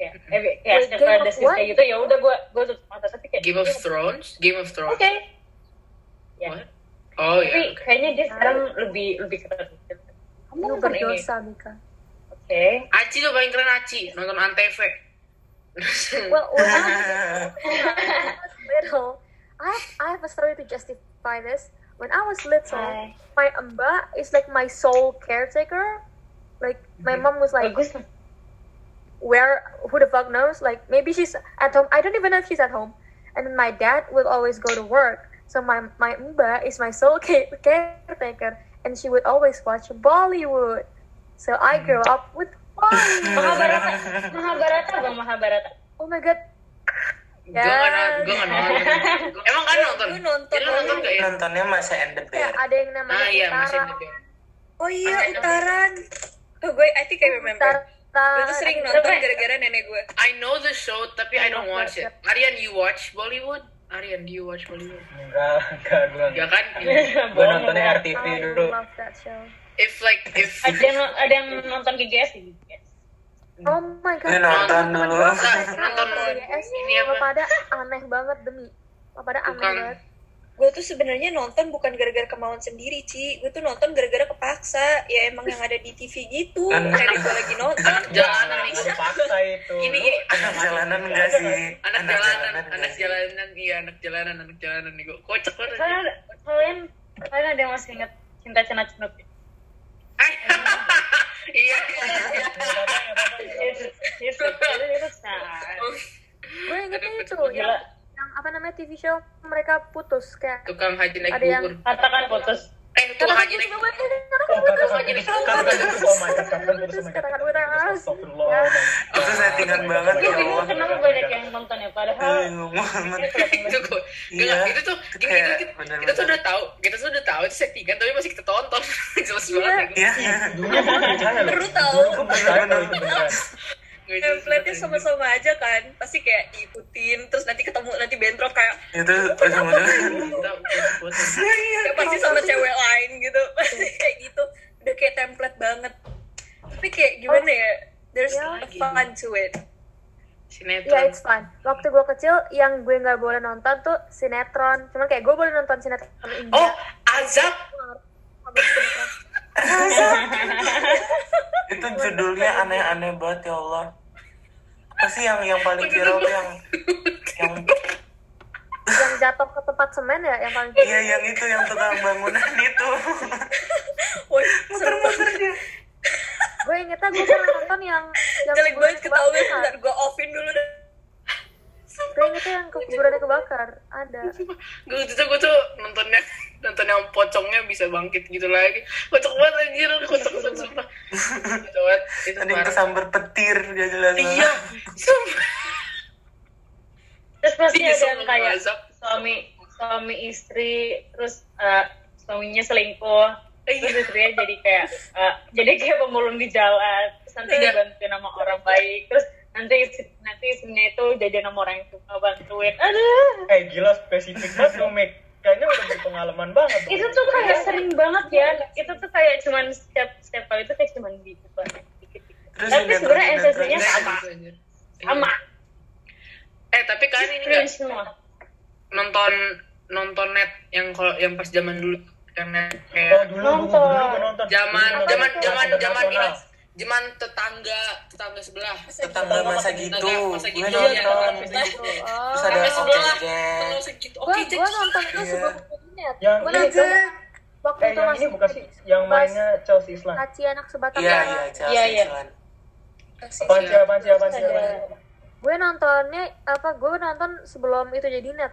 Kayak, eh, kayak
Wait,
setiap
Game
ada
of
scene
what?
kayak gitu ya udah gue gue tutup mata tapi kayak
Game of
"Iya,
Thrones, Game of Thrones.
Oke. Ya.
What? Oh
Tapi
ya. Okay.
kayaknya dia sekarang lebih lebih keren. Kamu
Lu
nonton ini. Oke.
berdosa, Mika.
Aci tuh paling keren Aci nonton Antv.
Well, when I was little, I have, I have a story to justify this. When I was little, my Amba is like my sole caretaker. Like, my
Mm-hmm.
mom was like,
Bagus.
where who the fuck knows like maybe she's at home i don't even know if she's at home and then my dad will always go to work so my my mba is my sole ca- caretaker and she would always watch bollywood so i grew up with bollywood
Mahabharata. Mahabharata bang Mahabharata.
oh my god
Gue nggak nonton, gue nggak nonton. Emang kan nonton?
Gue nonton.
Ya, lu nonton nggak ya?
Nontonnya masa End the
ya
Bear.
ada yang namanya
Ah iya masih
utara
ada. dia.
Oh iya,
Apa?
utaran. Oh, gue, I think I remember.
utara
Gue tuh sering nonton gara-gara nenek gue.
I know the show tapi I don't watch it. Aryan, you watch Bollywood? Aryan, do you watch Bollywood?
enggak, enggak, gue
Ya kan?
Gue nontonnya
I
RTV Iya, dulu.
love that show.
If like if
Ada yang ada yang nonton GGS di GGS.
Oh my god.
Lu nonton dulu.
Nonton.
BTS,
Ini apa?
Pada aneh banget demi. Pada
Iya,
aneh
Bukan.
banget.
Gue tuh sebenarnya nonton bukan gara-gara kemauan sendiri, Ci. Gue tuh nonton gara-gara kepaksa. Ya emang yang ada di TV gitu. Nenek gue lagi nonton.
Iya, anak jalanan
Nah,
nih.
lu paksa itu.
Gini, gini.
Anak jalanan enggak sih?
anak jalanan,
nggak
anak
sih?
jalanan, iya anak jalanan, anak jalanan nih gue kocak banget. Iya,
Kalian kalian kalian ada yang masih ingat cinta cina cina?
iya.
It's like a little sad.
gue ingetnya
Aduh,
itu
betul-betul
yang,
Gila,
yang apa namanya TV show mereka putus kayak
Tukang haji naik
Ada yang-
bubur.
katakan putus.
Eh,
Iya,
tukang haji naik bubur.
gitu. Oh
Katakan putus.
Itu settingan banget
Gue
Iya,
ya
bingung
Allah.
kenapa banyak yang nonton ya,
Eh,
padahal
ngomong amat.
Itu gue.
Iya,
Enggak, itu tuh gini, kita,
kayak
kita, kita
bener-bener.
tuh udah tahu, kita tuh udah tahu itu settingan tapi masih kita tonton. Jelas banget.
Iya.
Dulunya gue percaya loh.
Baru tahu.
Dulu gue percaya kalau itu beneran.
Nggak jelas
template-nya
banget.
sama-sama aja kan pasti kayak diikutin terus nanti ketemu nanti bentrok kayak
Itu ujung-ujungnya.
Ya,
kayak pasti sama cewek lain gitu pasti kayak gitu udah kayak template banget tapi kayak gimana ya there's
Ya.
a fun to it
Ya,
Sinetron.
it's fun. Waktu gue kecil, yang gue nggak boleh nonton tuh sinetron. Cuman kayak gue boleh nonton sinetron India.
Oh, azab.
Itu judulnya aneh-aneh banget ya Allah. Pasti yang yang paling viral tuh yang yang
yang jatuh ke tempat semen ya, yang paling
iya yang itu yang tukang bangunan itu.
woi seru banget
Gue ingetnya gue pernah nonton yang... yang
jelek banget
kuburannya
ketahuan
kebakar.
ntar gue offin dulu deh
Gue ingetnya yang kuburannya kebakar. Ada.
Gue itu tuh gue tuh nontonnya nonton yang pocongnya bisa bangkit gitu lagi. Kocok banget anjir, kocok kocok sumpah. Kocok banget. Itu
Tadi
parah.
kesambar petir dia jelas.
Iya, sumpah.
terus pasti
Iya,
ada yang
sama
kayak
WhatsApp.
suami suami istri terus eh, suaminya selingkuh
Iya.
terus istrinya jadi kayak eh, jadi kayak pemulung di jalan terus nanti
Iya.
dibantuin sama orang baik terus nanti istri- nanti istrinya itu jajan sama orang yang suka bantuin aduh
Eh gila spesifik banget dong, Mik. Kayaknya udah berpengalaman banget. dong.
itu tuh kayak sering banget ya itu tuh kayak cuman setiap setiap kali itu kayak cuman dikit banget dikit-dikit.
Terus
tapi
sinetron-
sebenarnya esensinya Iya,
sinetron-
sama
Nah, gitu, Anjir. Iya.
sama
Eh, tapi kalian ini nggak
cringe semua
nonton nonton net yang kalau yang pas zaman dulu yang net
Oh,
kayak
dulu dulu dulu gua nonton.
zaman
Dulu gua
zaman
nonton
zaman zaman ini
internasional.
zaman tetangga tetangga sebelah
tetangga masa gitu.
Masa gitu,
Gue
iya,
nonton.
tetangga sebelah.
Oh.
Terus ada
Tetangga sebelah.
objek-objek.
Kalau segitu
Gue
oke Jack.
gue nonton itu
Iya.
sebelum internet.
Yang
Gue
ini
nonton
kan-
waktu
Eh,
itu
yang ini
masih
bukan sih yang
pas
mainnya Chelsea Islan.
Kaci anak sebatang
Iya,
kara.
iya,
Iya,
Chelsea
iya.
Islan.
Apaan sih, apaan sih, apaan sih, apaan sih?
Gue nontonnya apa? Gue nonton sebelum itu jadi net.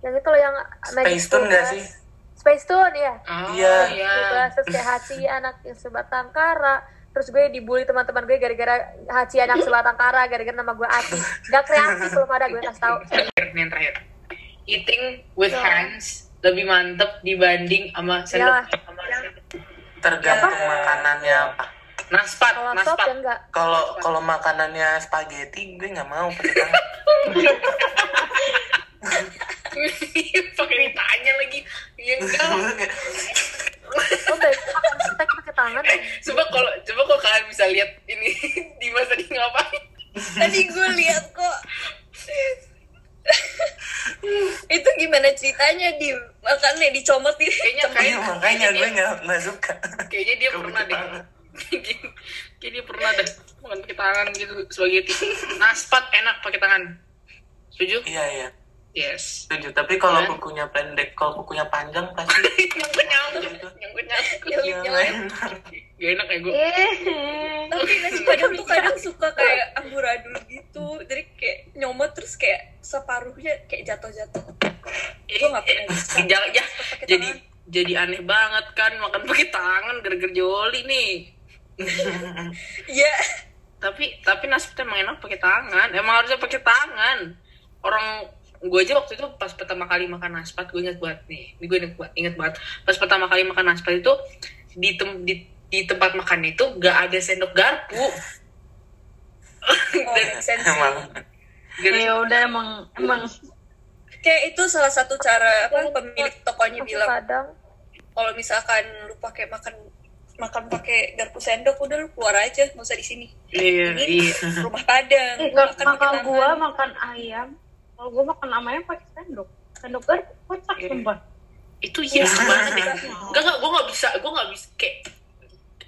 Yang itu loh yang Magic
Space Tune nggak
School
sih?
Bus. Space Tune ya.
Ah,
Iya.
iya.
Dibahas terus kayak Haci anak yang sebatang kara. Terus gue dibully teman-teman gue gara-gara Haci anak sebatang kara, gara-gara nama gue Ati. Gak kreatif belum ada gue kasih tahu.
Terakhir, nih yang terakhir. Eating with
Iya.
hands lebih mantep dibanding sama sendok sama sendok.
Tergantung
Apa?
makanannya apa.
naspat,
Kalau top
naspat.
ya enggak.
Kalau kalau makanannya spaghetti gue nggak mau pakai tangan.
Pakai ditanya lagi. Ya enggak. lah.
Lo baik makan steak pakai tangan. ya?
Coba kalau coba kalau kalian bisa lihat ini Dimas tadi ngapain?
tadi gue lihat kok itu gimana ceritanya di makannya Kan dicomot di
Kayaknya
Iya,
kayak
makanya gue nggak nggak suka.
kayaknya dia
Kamu
pernah
pakai
deh
tangan.
Kayaknya- kayaknya dia pernah deh makan pakai tangan gitu sebagai tip naspat enak pakai tangan setuju
Iya iya.
yes
Setuju. Tapi kalau
Iya.
kukunya pendek, kalau kukunya panjang pasti iya,
nyangkut nyangkut nyangkut nyangkut
yang lain.
gak enak ya gue
tapi nasi padang tuh kadang suka kayak amburadul gitu jadi kayak nyomot terus kayak separuhnya kayak jatuh-jatuh gue nggak pernah bisa
Jangan, ya,
Pakai
jadi
tangan.
jadi aneh banget kan makan pakai tangan gara-gara joli nih
iya
tapi tapi nasibnya emang enak pakai tangan emang harusnya pakai tangan orang gue aja waktu itu pas pertama kali makan naspat gue inget banget nih ini gue inget banget inget banget pas pertama kali makan naspat itu di tem- di, di tempat makan itu gak ada sendok garpu
oh, sensi
Emang.
Gara-
ya udah emang emang
kayak itu salah satu cara apa pemilik tokonya
Nasi
bilang
Padang.
kalau misalkan lu pakai makan makan pakai garpu sendok udah lu keluar aja nggak usah di sini
iya
ini
iya
rumah padang makan
Enggak,
Iya.
kalau
pakai
gua
tangan.
makan ayam, kalau gua makan ayam pakai sendok. Sendok kan kocak
Iya.
sumpah.
itu iya banget ya gak gak gue gak bisa gue gak bisa kayak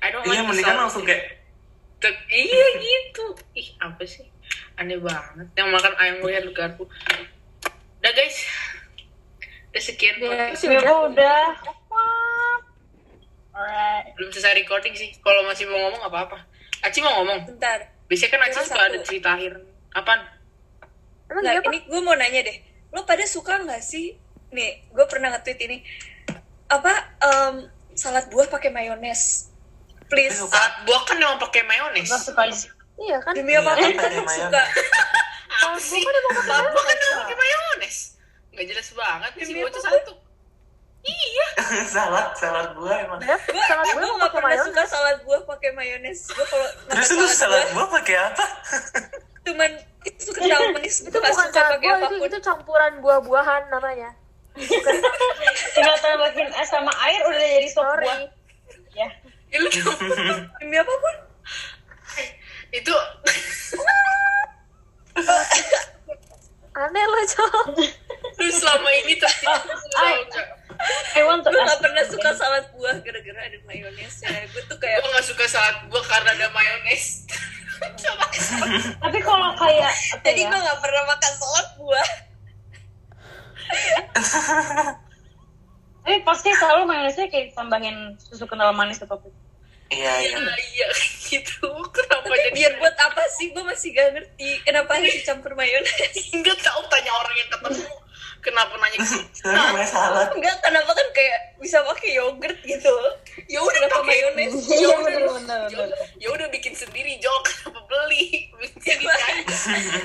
I don't
Iya,
like
mendingan
salt.
langsung kayak
Tet- iya gitu ih apa sih aneh banget yang makan ayam lihat garpu udah guys udah sekian podcast.
Ya udah. Alright.
belum selesai recording sih kalau masih mau ngomong apa apa Aci mau ngomong
bentar
Biasanya kan Aci
Cuma
suka
satu.
ada cerita akhir. Apaan?
Emang
iya,
Nah,
dia apa?
ini gue mau nanya deh. Lo pada suka nggak sih? Nih, gue pernah nge-tweet ini. Apa em, salad buah pakai mayones? Please.
Salad buah kan yang pakai mayones.
Gue suka sih.
Iya kan?
Demi apa pun
Iya, pakai
kadang
mayones.
suka.
Apa sih? Salad buah kan yang pakai mayones. Nggak jelas banget sih
Demi
bocah
apa?
satu.
salad salad buah emang
Dia
Gue
salad
gue
buah
nggak
pakai
pernah suka
mayones.
salad buah pakai mayones. Gue kalau
terus
makan
lu
salad
salad
buah
buah pakai apa
cuman itu kental manis.
Itu
Gue nggak
bukan
suka
salad
pakai
buah, itu,
apapun.
itu campuran buah-buahan namanya.
Tinggal tambahin es sama air udah jadi sop buah.
Sorry.
Ya.
Ya lu
Demi apapun.
itu
Aneh lo, Cok.
lu selama ini tertipu.
Ay. I want to
Gue
ask
nggak pernah suka salad buah gara-gara ada mayonesnya. Gue tuh kayak
Gue nggak suka salad buah karena ada mayones. Coba.
Tapi kalau kayak apa
jadi
Iya.
ya?
gue nggak pernah makan salad buah.
Tapi pasti selalu mayonesnya kayak tambahin susu kental manis atau apa.
iya iya
Nah, iya gitu. Kenapa jadi
Biar buat apa sih? Gue masih gak ngerti kenapa harus dicampur mayones.
Enggak tahu tanya orang yang ketemu. Kenapa nanya gitu?
Tapi namanya salad
Enggak, kenapa kan kayak bisa pakai yogurt gitu.
Ya udah
Kenapa
pakai
mayones?
Ya
Iya,
udah,
bener-bener, bener.
ya udah bikin sendiri jok kenapa beli bikin
Iya.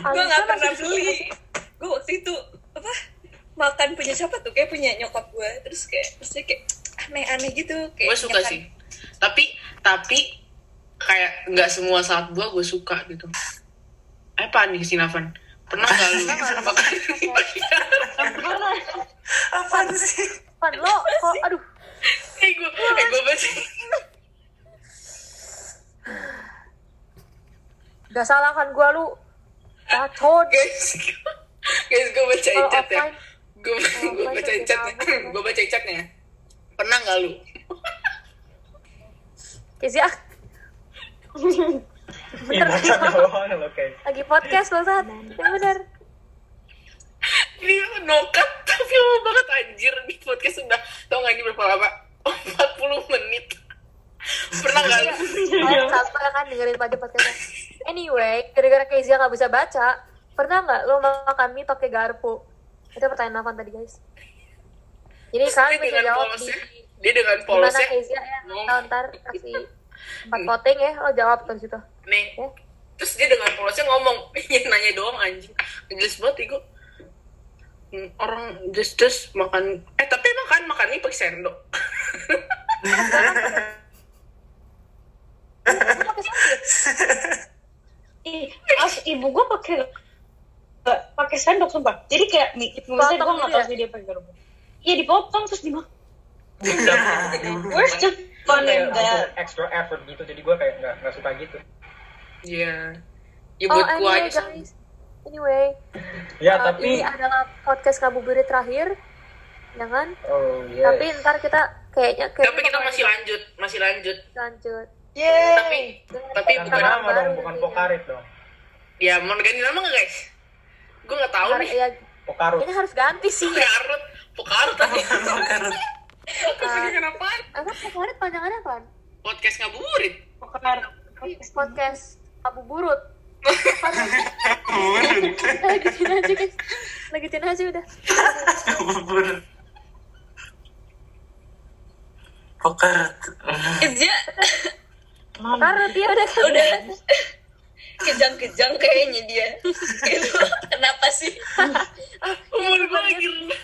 Gue gak pernah beli. Gue waktu itu, apa, makan punya siapa tuh? Kayak punya nyokap gue. Terus kayak, terusnya kayak aneh-aneh gitu. Kayak
gue suka
nyekan.
sih tapi tapi kayak nggak semua saat gue gue suka gitu eh apa nih sinafan pernah nggak lu makan Eh,
Karena
apaan sih
Pan, lo kok aduh
eh gue eh gue baca
gak salah kan gua lu bacot
guys guys gue baca
Kalau
chat ya
offline-
gue gue
offline
baca
jadi
chatnya
apa?
gue baca chatnya pernah nggak lu
Casey ah
Ih, baca doang lo guys.
lagi podcast lo saat yang bener
ini nokat tapi lama banget anjir di podcast udah tau gak ini berapa lama 40 menit pernah gak
Iya,
lu Iya.
Kalian sabar kan dengerin pada podcastnya anyway gara-gara Casey gak bisa baca pernah nggak lo makan mie pakai garpu itu pertanyaan Navan tadi guys jadi
dia
kalian bisa
dengan
jawab di
polosnya dia dengan
gimana
polosnya
Kezia ya
Ngomong.
ntar, ntar kasih empat
Hmm.
voting ya lo jawab tuh situ
nih
Ya.
terus dia dengan polosnya ngomong yang nanya doang anjing jelas banget ego Hmm, orang just just makan eh tapi emang kan makan mie pakai sendok
Lo pakai sendok
Ih, as ibu gue pakai nggak pakai sendok sumpah. Jadi kayak mie, misalnya gue
Potong
nggak
gitu
tahu
ya?
sih dia pakai garpu. Iya dipotong terus dimakan.
Aduh.
Where's the fun in
Kayak
that?
langsung extra effort gitu, jadi gue kayak nggak nggak suka gitu.
iya ya
oh
buat gua
anyway
aja
guys anyway
Ya
Uh,
tapi,
ini adalah podcast ngabuburit terakhir jangan
oh iya.
tapi ntar kita kayaknya
tapi
kayaknya
kita
bakal
masih lanjut masih lanjut
lanjut
tapi tapi
Bukan
bukan
nama Kan
baru
dong, bukan
nantinya.
Pokarit dong.
ya mau ganti nama nggak guys gue nggak tahu
Har-
nih
ya,
Pokarut.
ini harus ganti sih ya
Pokarut, Pokarut tadi.
Karut.
Tapi kenapa?
emang kemarin panjangannya apa
Podcast ngabuburit.
Pokar.
podcast ngabuburut lanjutin aja guys lanjutin aja udah
Bubur. Poker.
Kerja
karena dia udah kan
udah kejang-kejang kayaknya dia. Kayak, kenapa sih?
Umur gue lagi rendah.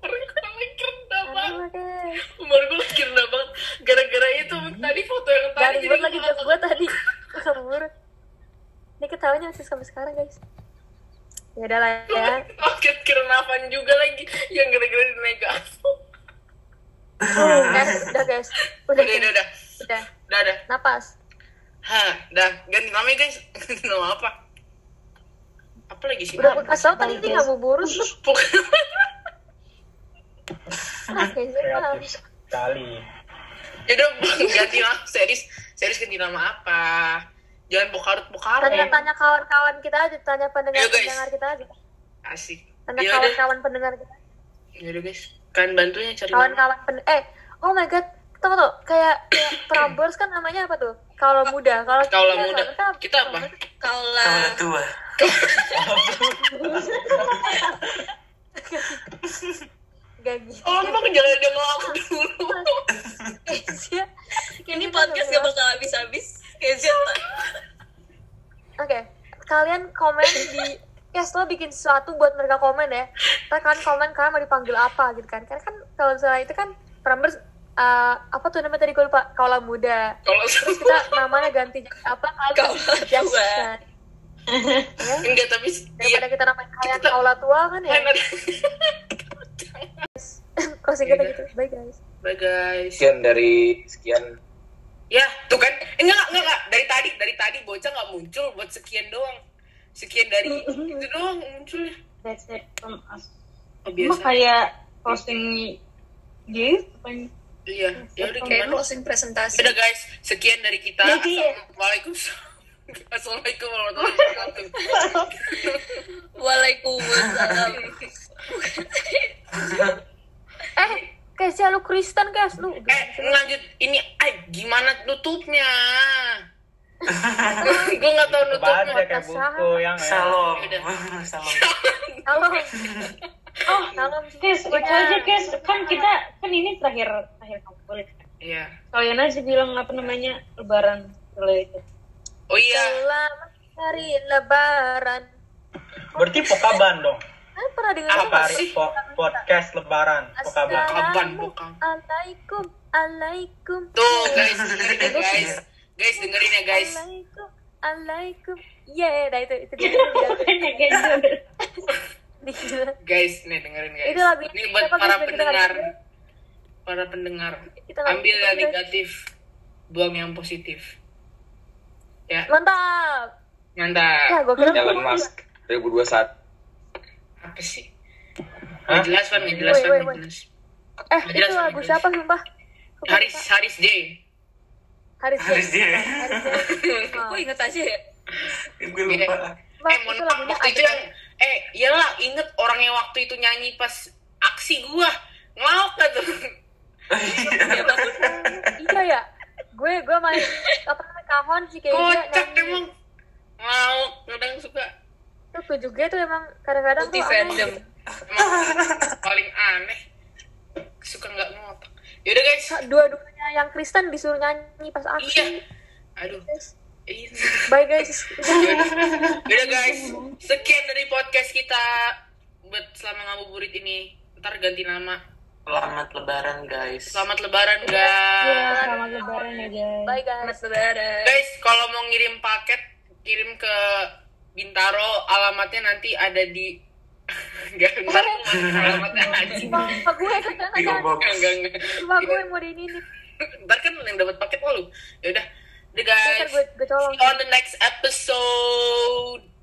Umur gue lagi rendah banget.
Aduh, guys.
Umur gue lagi rendah banget. Gara-gara itu tadi foto yang tadi.
garing
jadi
banget
gua
lagi
nggak
buat gue tadi ngabuburut ini ketawanya masih sampai sekarang guys ya udah lah
tahu.
ya
Oke, kerenapan Oh, juga lagi yang gara-gara di negatif.
Oh,
Ah.
udah, udah guys udah
Udah, udah, udah.
udah
Udah, udah.
napas
Hah, dah. Ganti namanya guys. Ganti nama apa? Apa lagi sih?
udah aku kasih tau tadi ini ngabuburut lu
Pok-
Ah, Kezia mah.
Kreatif sekali.
Yaudah, ya ganti lah. Series, series ganti nama apa? Jangan pokarut pokarut.
tanya tanya kawan-kawan kita aja tanya pendengar
Ayo, guys. Iya,
pendengar kita aja
Asik. Ya
tanya
Yaudah,
kawan-kawan pendengar kita
yaudah guys. Kalian bantunya cari nama.
kawan-kawan pen eh oh my god tunggu tuh kayak kayak Prambors kan namanya apa tuh
Kalau muda, kalau
Kaulah muda. Kita apa?
Kaulah
Kalau tua.
Gak gitu.
Oh, lu mau kejalanan dia ngelawak dulu.
Kezia.
ini podcast gak bakal habis-habis kayak gitu. Zeta.
Oke, kalian komen di Yes, lo bikin sesuatu buat mereka komen ya. Ntar kalian komen kalian mau dipanggil apa gitu kan. Karena kan kalau misalnya itu kan Prambors eh, apa tuh namanya tadi gue lupa, kaulah muda.
Kalau
Terus kita namanya ganti jadi apa kalian
Kaulah
Yes,
tua.
kan. Ya,
enggak tapi iya. dia
daripada kita namain kalian kaulah tua kan ya.
kan ada.
Closing
Iya.
kita gitu. Bye guys.
Bye guys.
Sekian dari sekian.
Ya, tuh kan. Eh, Enggak, enggak, enggak. Dari tadi, dari tadi bocah nggak muncul buat sekian doang. Sekian dari itu doang muncul.
That's it from us.
Oh, biasa.
Emang
Iya,
kayak closing gitu kan.
Iya. Ya udah
Kayak
gimana?
closing presentasi.
Udah guys, sekian dari kita. Assalamualaikum. Assalamualaikum warahmatullahi wabarakatuh.
Waalaikumsalam.
Eh, Kezia lu Kristen guys lu.
Eh, lanjut ini eh, gimana nutupnya? gue nggak tahu
Coba
nutupnya.
aja kayak buku yang ya.
Salam.
Yaudah.
Salam.
Salam. Oh, salam.
Kes, itu aja kes. Kan kita kan ini terakhir terakhir kampus.
Iya.
Kalian aja bilang apa namanya lebaran related.
Oh iya.
Selamat hari lebaran.
Berarti pokaban dong.
Kalian pernah dengar
Apa
nggak?
Apa
sih?
po- podcast lebaran pokaban.
Kapan, bukan?
Assalamualaikum, alaikum,
Tuh guys, dengerin ya guys. Guys dengerin ya guys.
alaikum, alaikum. Yeah, nah itu itu dia.
Iya,
Banyak guys.
Gila.
Guys, nih dengerin guys.
Itu lagu-
Ini buat
siapa guys
para
yang kita
pendengar.
lagu?
Para pendengar.
Kita ya, lagu-
Ambil yang
kita-
negatif, buang yang positif. Ya,
Mantap. Ya,
mantap.
gue kira
Elon Musk 2021.
Apa sih?
Hah?
Nggak jelas, Van. Nggak jelas,
Wait,
Van.
wait,
nggak
wait.
jelas.
Eh,
Nggak
itu
jelas,
lagu
nggak jelas.
siapa sumpah? Gua lupa.
Haris, Haris D.
Haris.
Harus
Haris.
dia.
Oh.
Gue inget aja ya.
Gue lupa.
Bang,
eh, mohon
itu
maaf,
lagunya
waktu itu
ada.
yang... Eh, iyalah, inget orang yang waktu itu nyanyi pas aksi gua. Ngelawak gak tuh?
Iya ya. Gue gue main apa namanya kahon sih kayaknya.
Kocak
iya, nyanyi.
emang. Ngelawak, kadang suka.
Itu gue juga tuh emang kadang-kadang tuh
Multi
aneh.
fandom.
Emang paling aneh. Suka nggak ngotak. Yaudah guys.
Dua-duanya yang Kristen disuruh nyanyi pas
Iya.
aksi.
Aduh. Iya.
Bye guys.
Yaudah guys. Sekian dari podcast kita. Buat selama ngabuburit ini. Ntar ganti nama.
Selamat lebaran guys.
Selamat lebaran guys.
Selamat lebaran ya guys.
Bye guys.
Selamat
Iya.
lebaran.
Guys, kalau mau ngirim paket, kirim ke Bintaro. Alamatnya nanti ada di... Gak, ntar aku masukin alamatnya anjing.
Cuma gue kan
Di
jangan
Obok.
Enggak, enggak, enggak.
cuma gue yang mau di ini nih.
Ntar kan yang dapat paket lo lu. Yaudah. Udah
Ntar
guys.
gue gue colong.
See you on the next episode.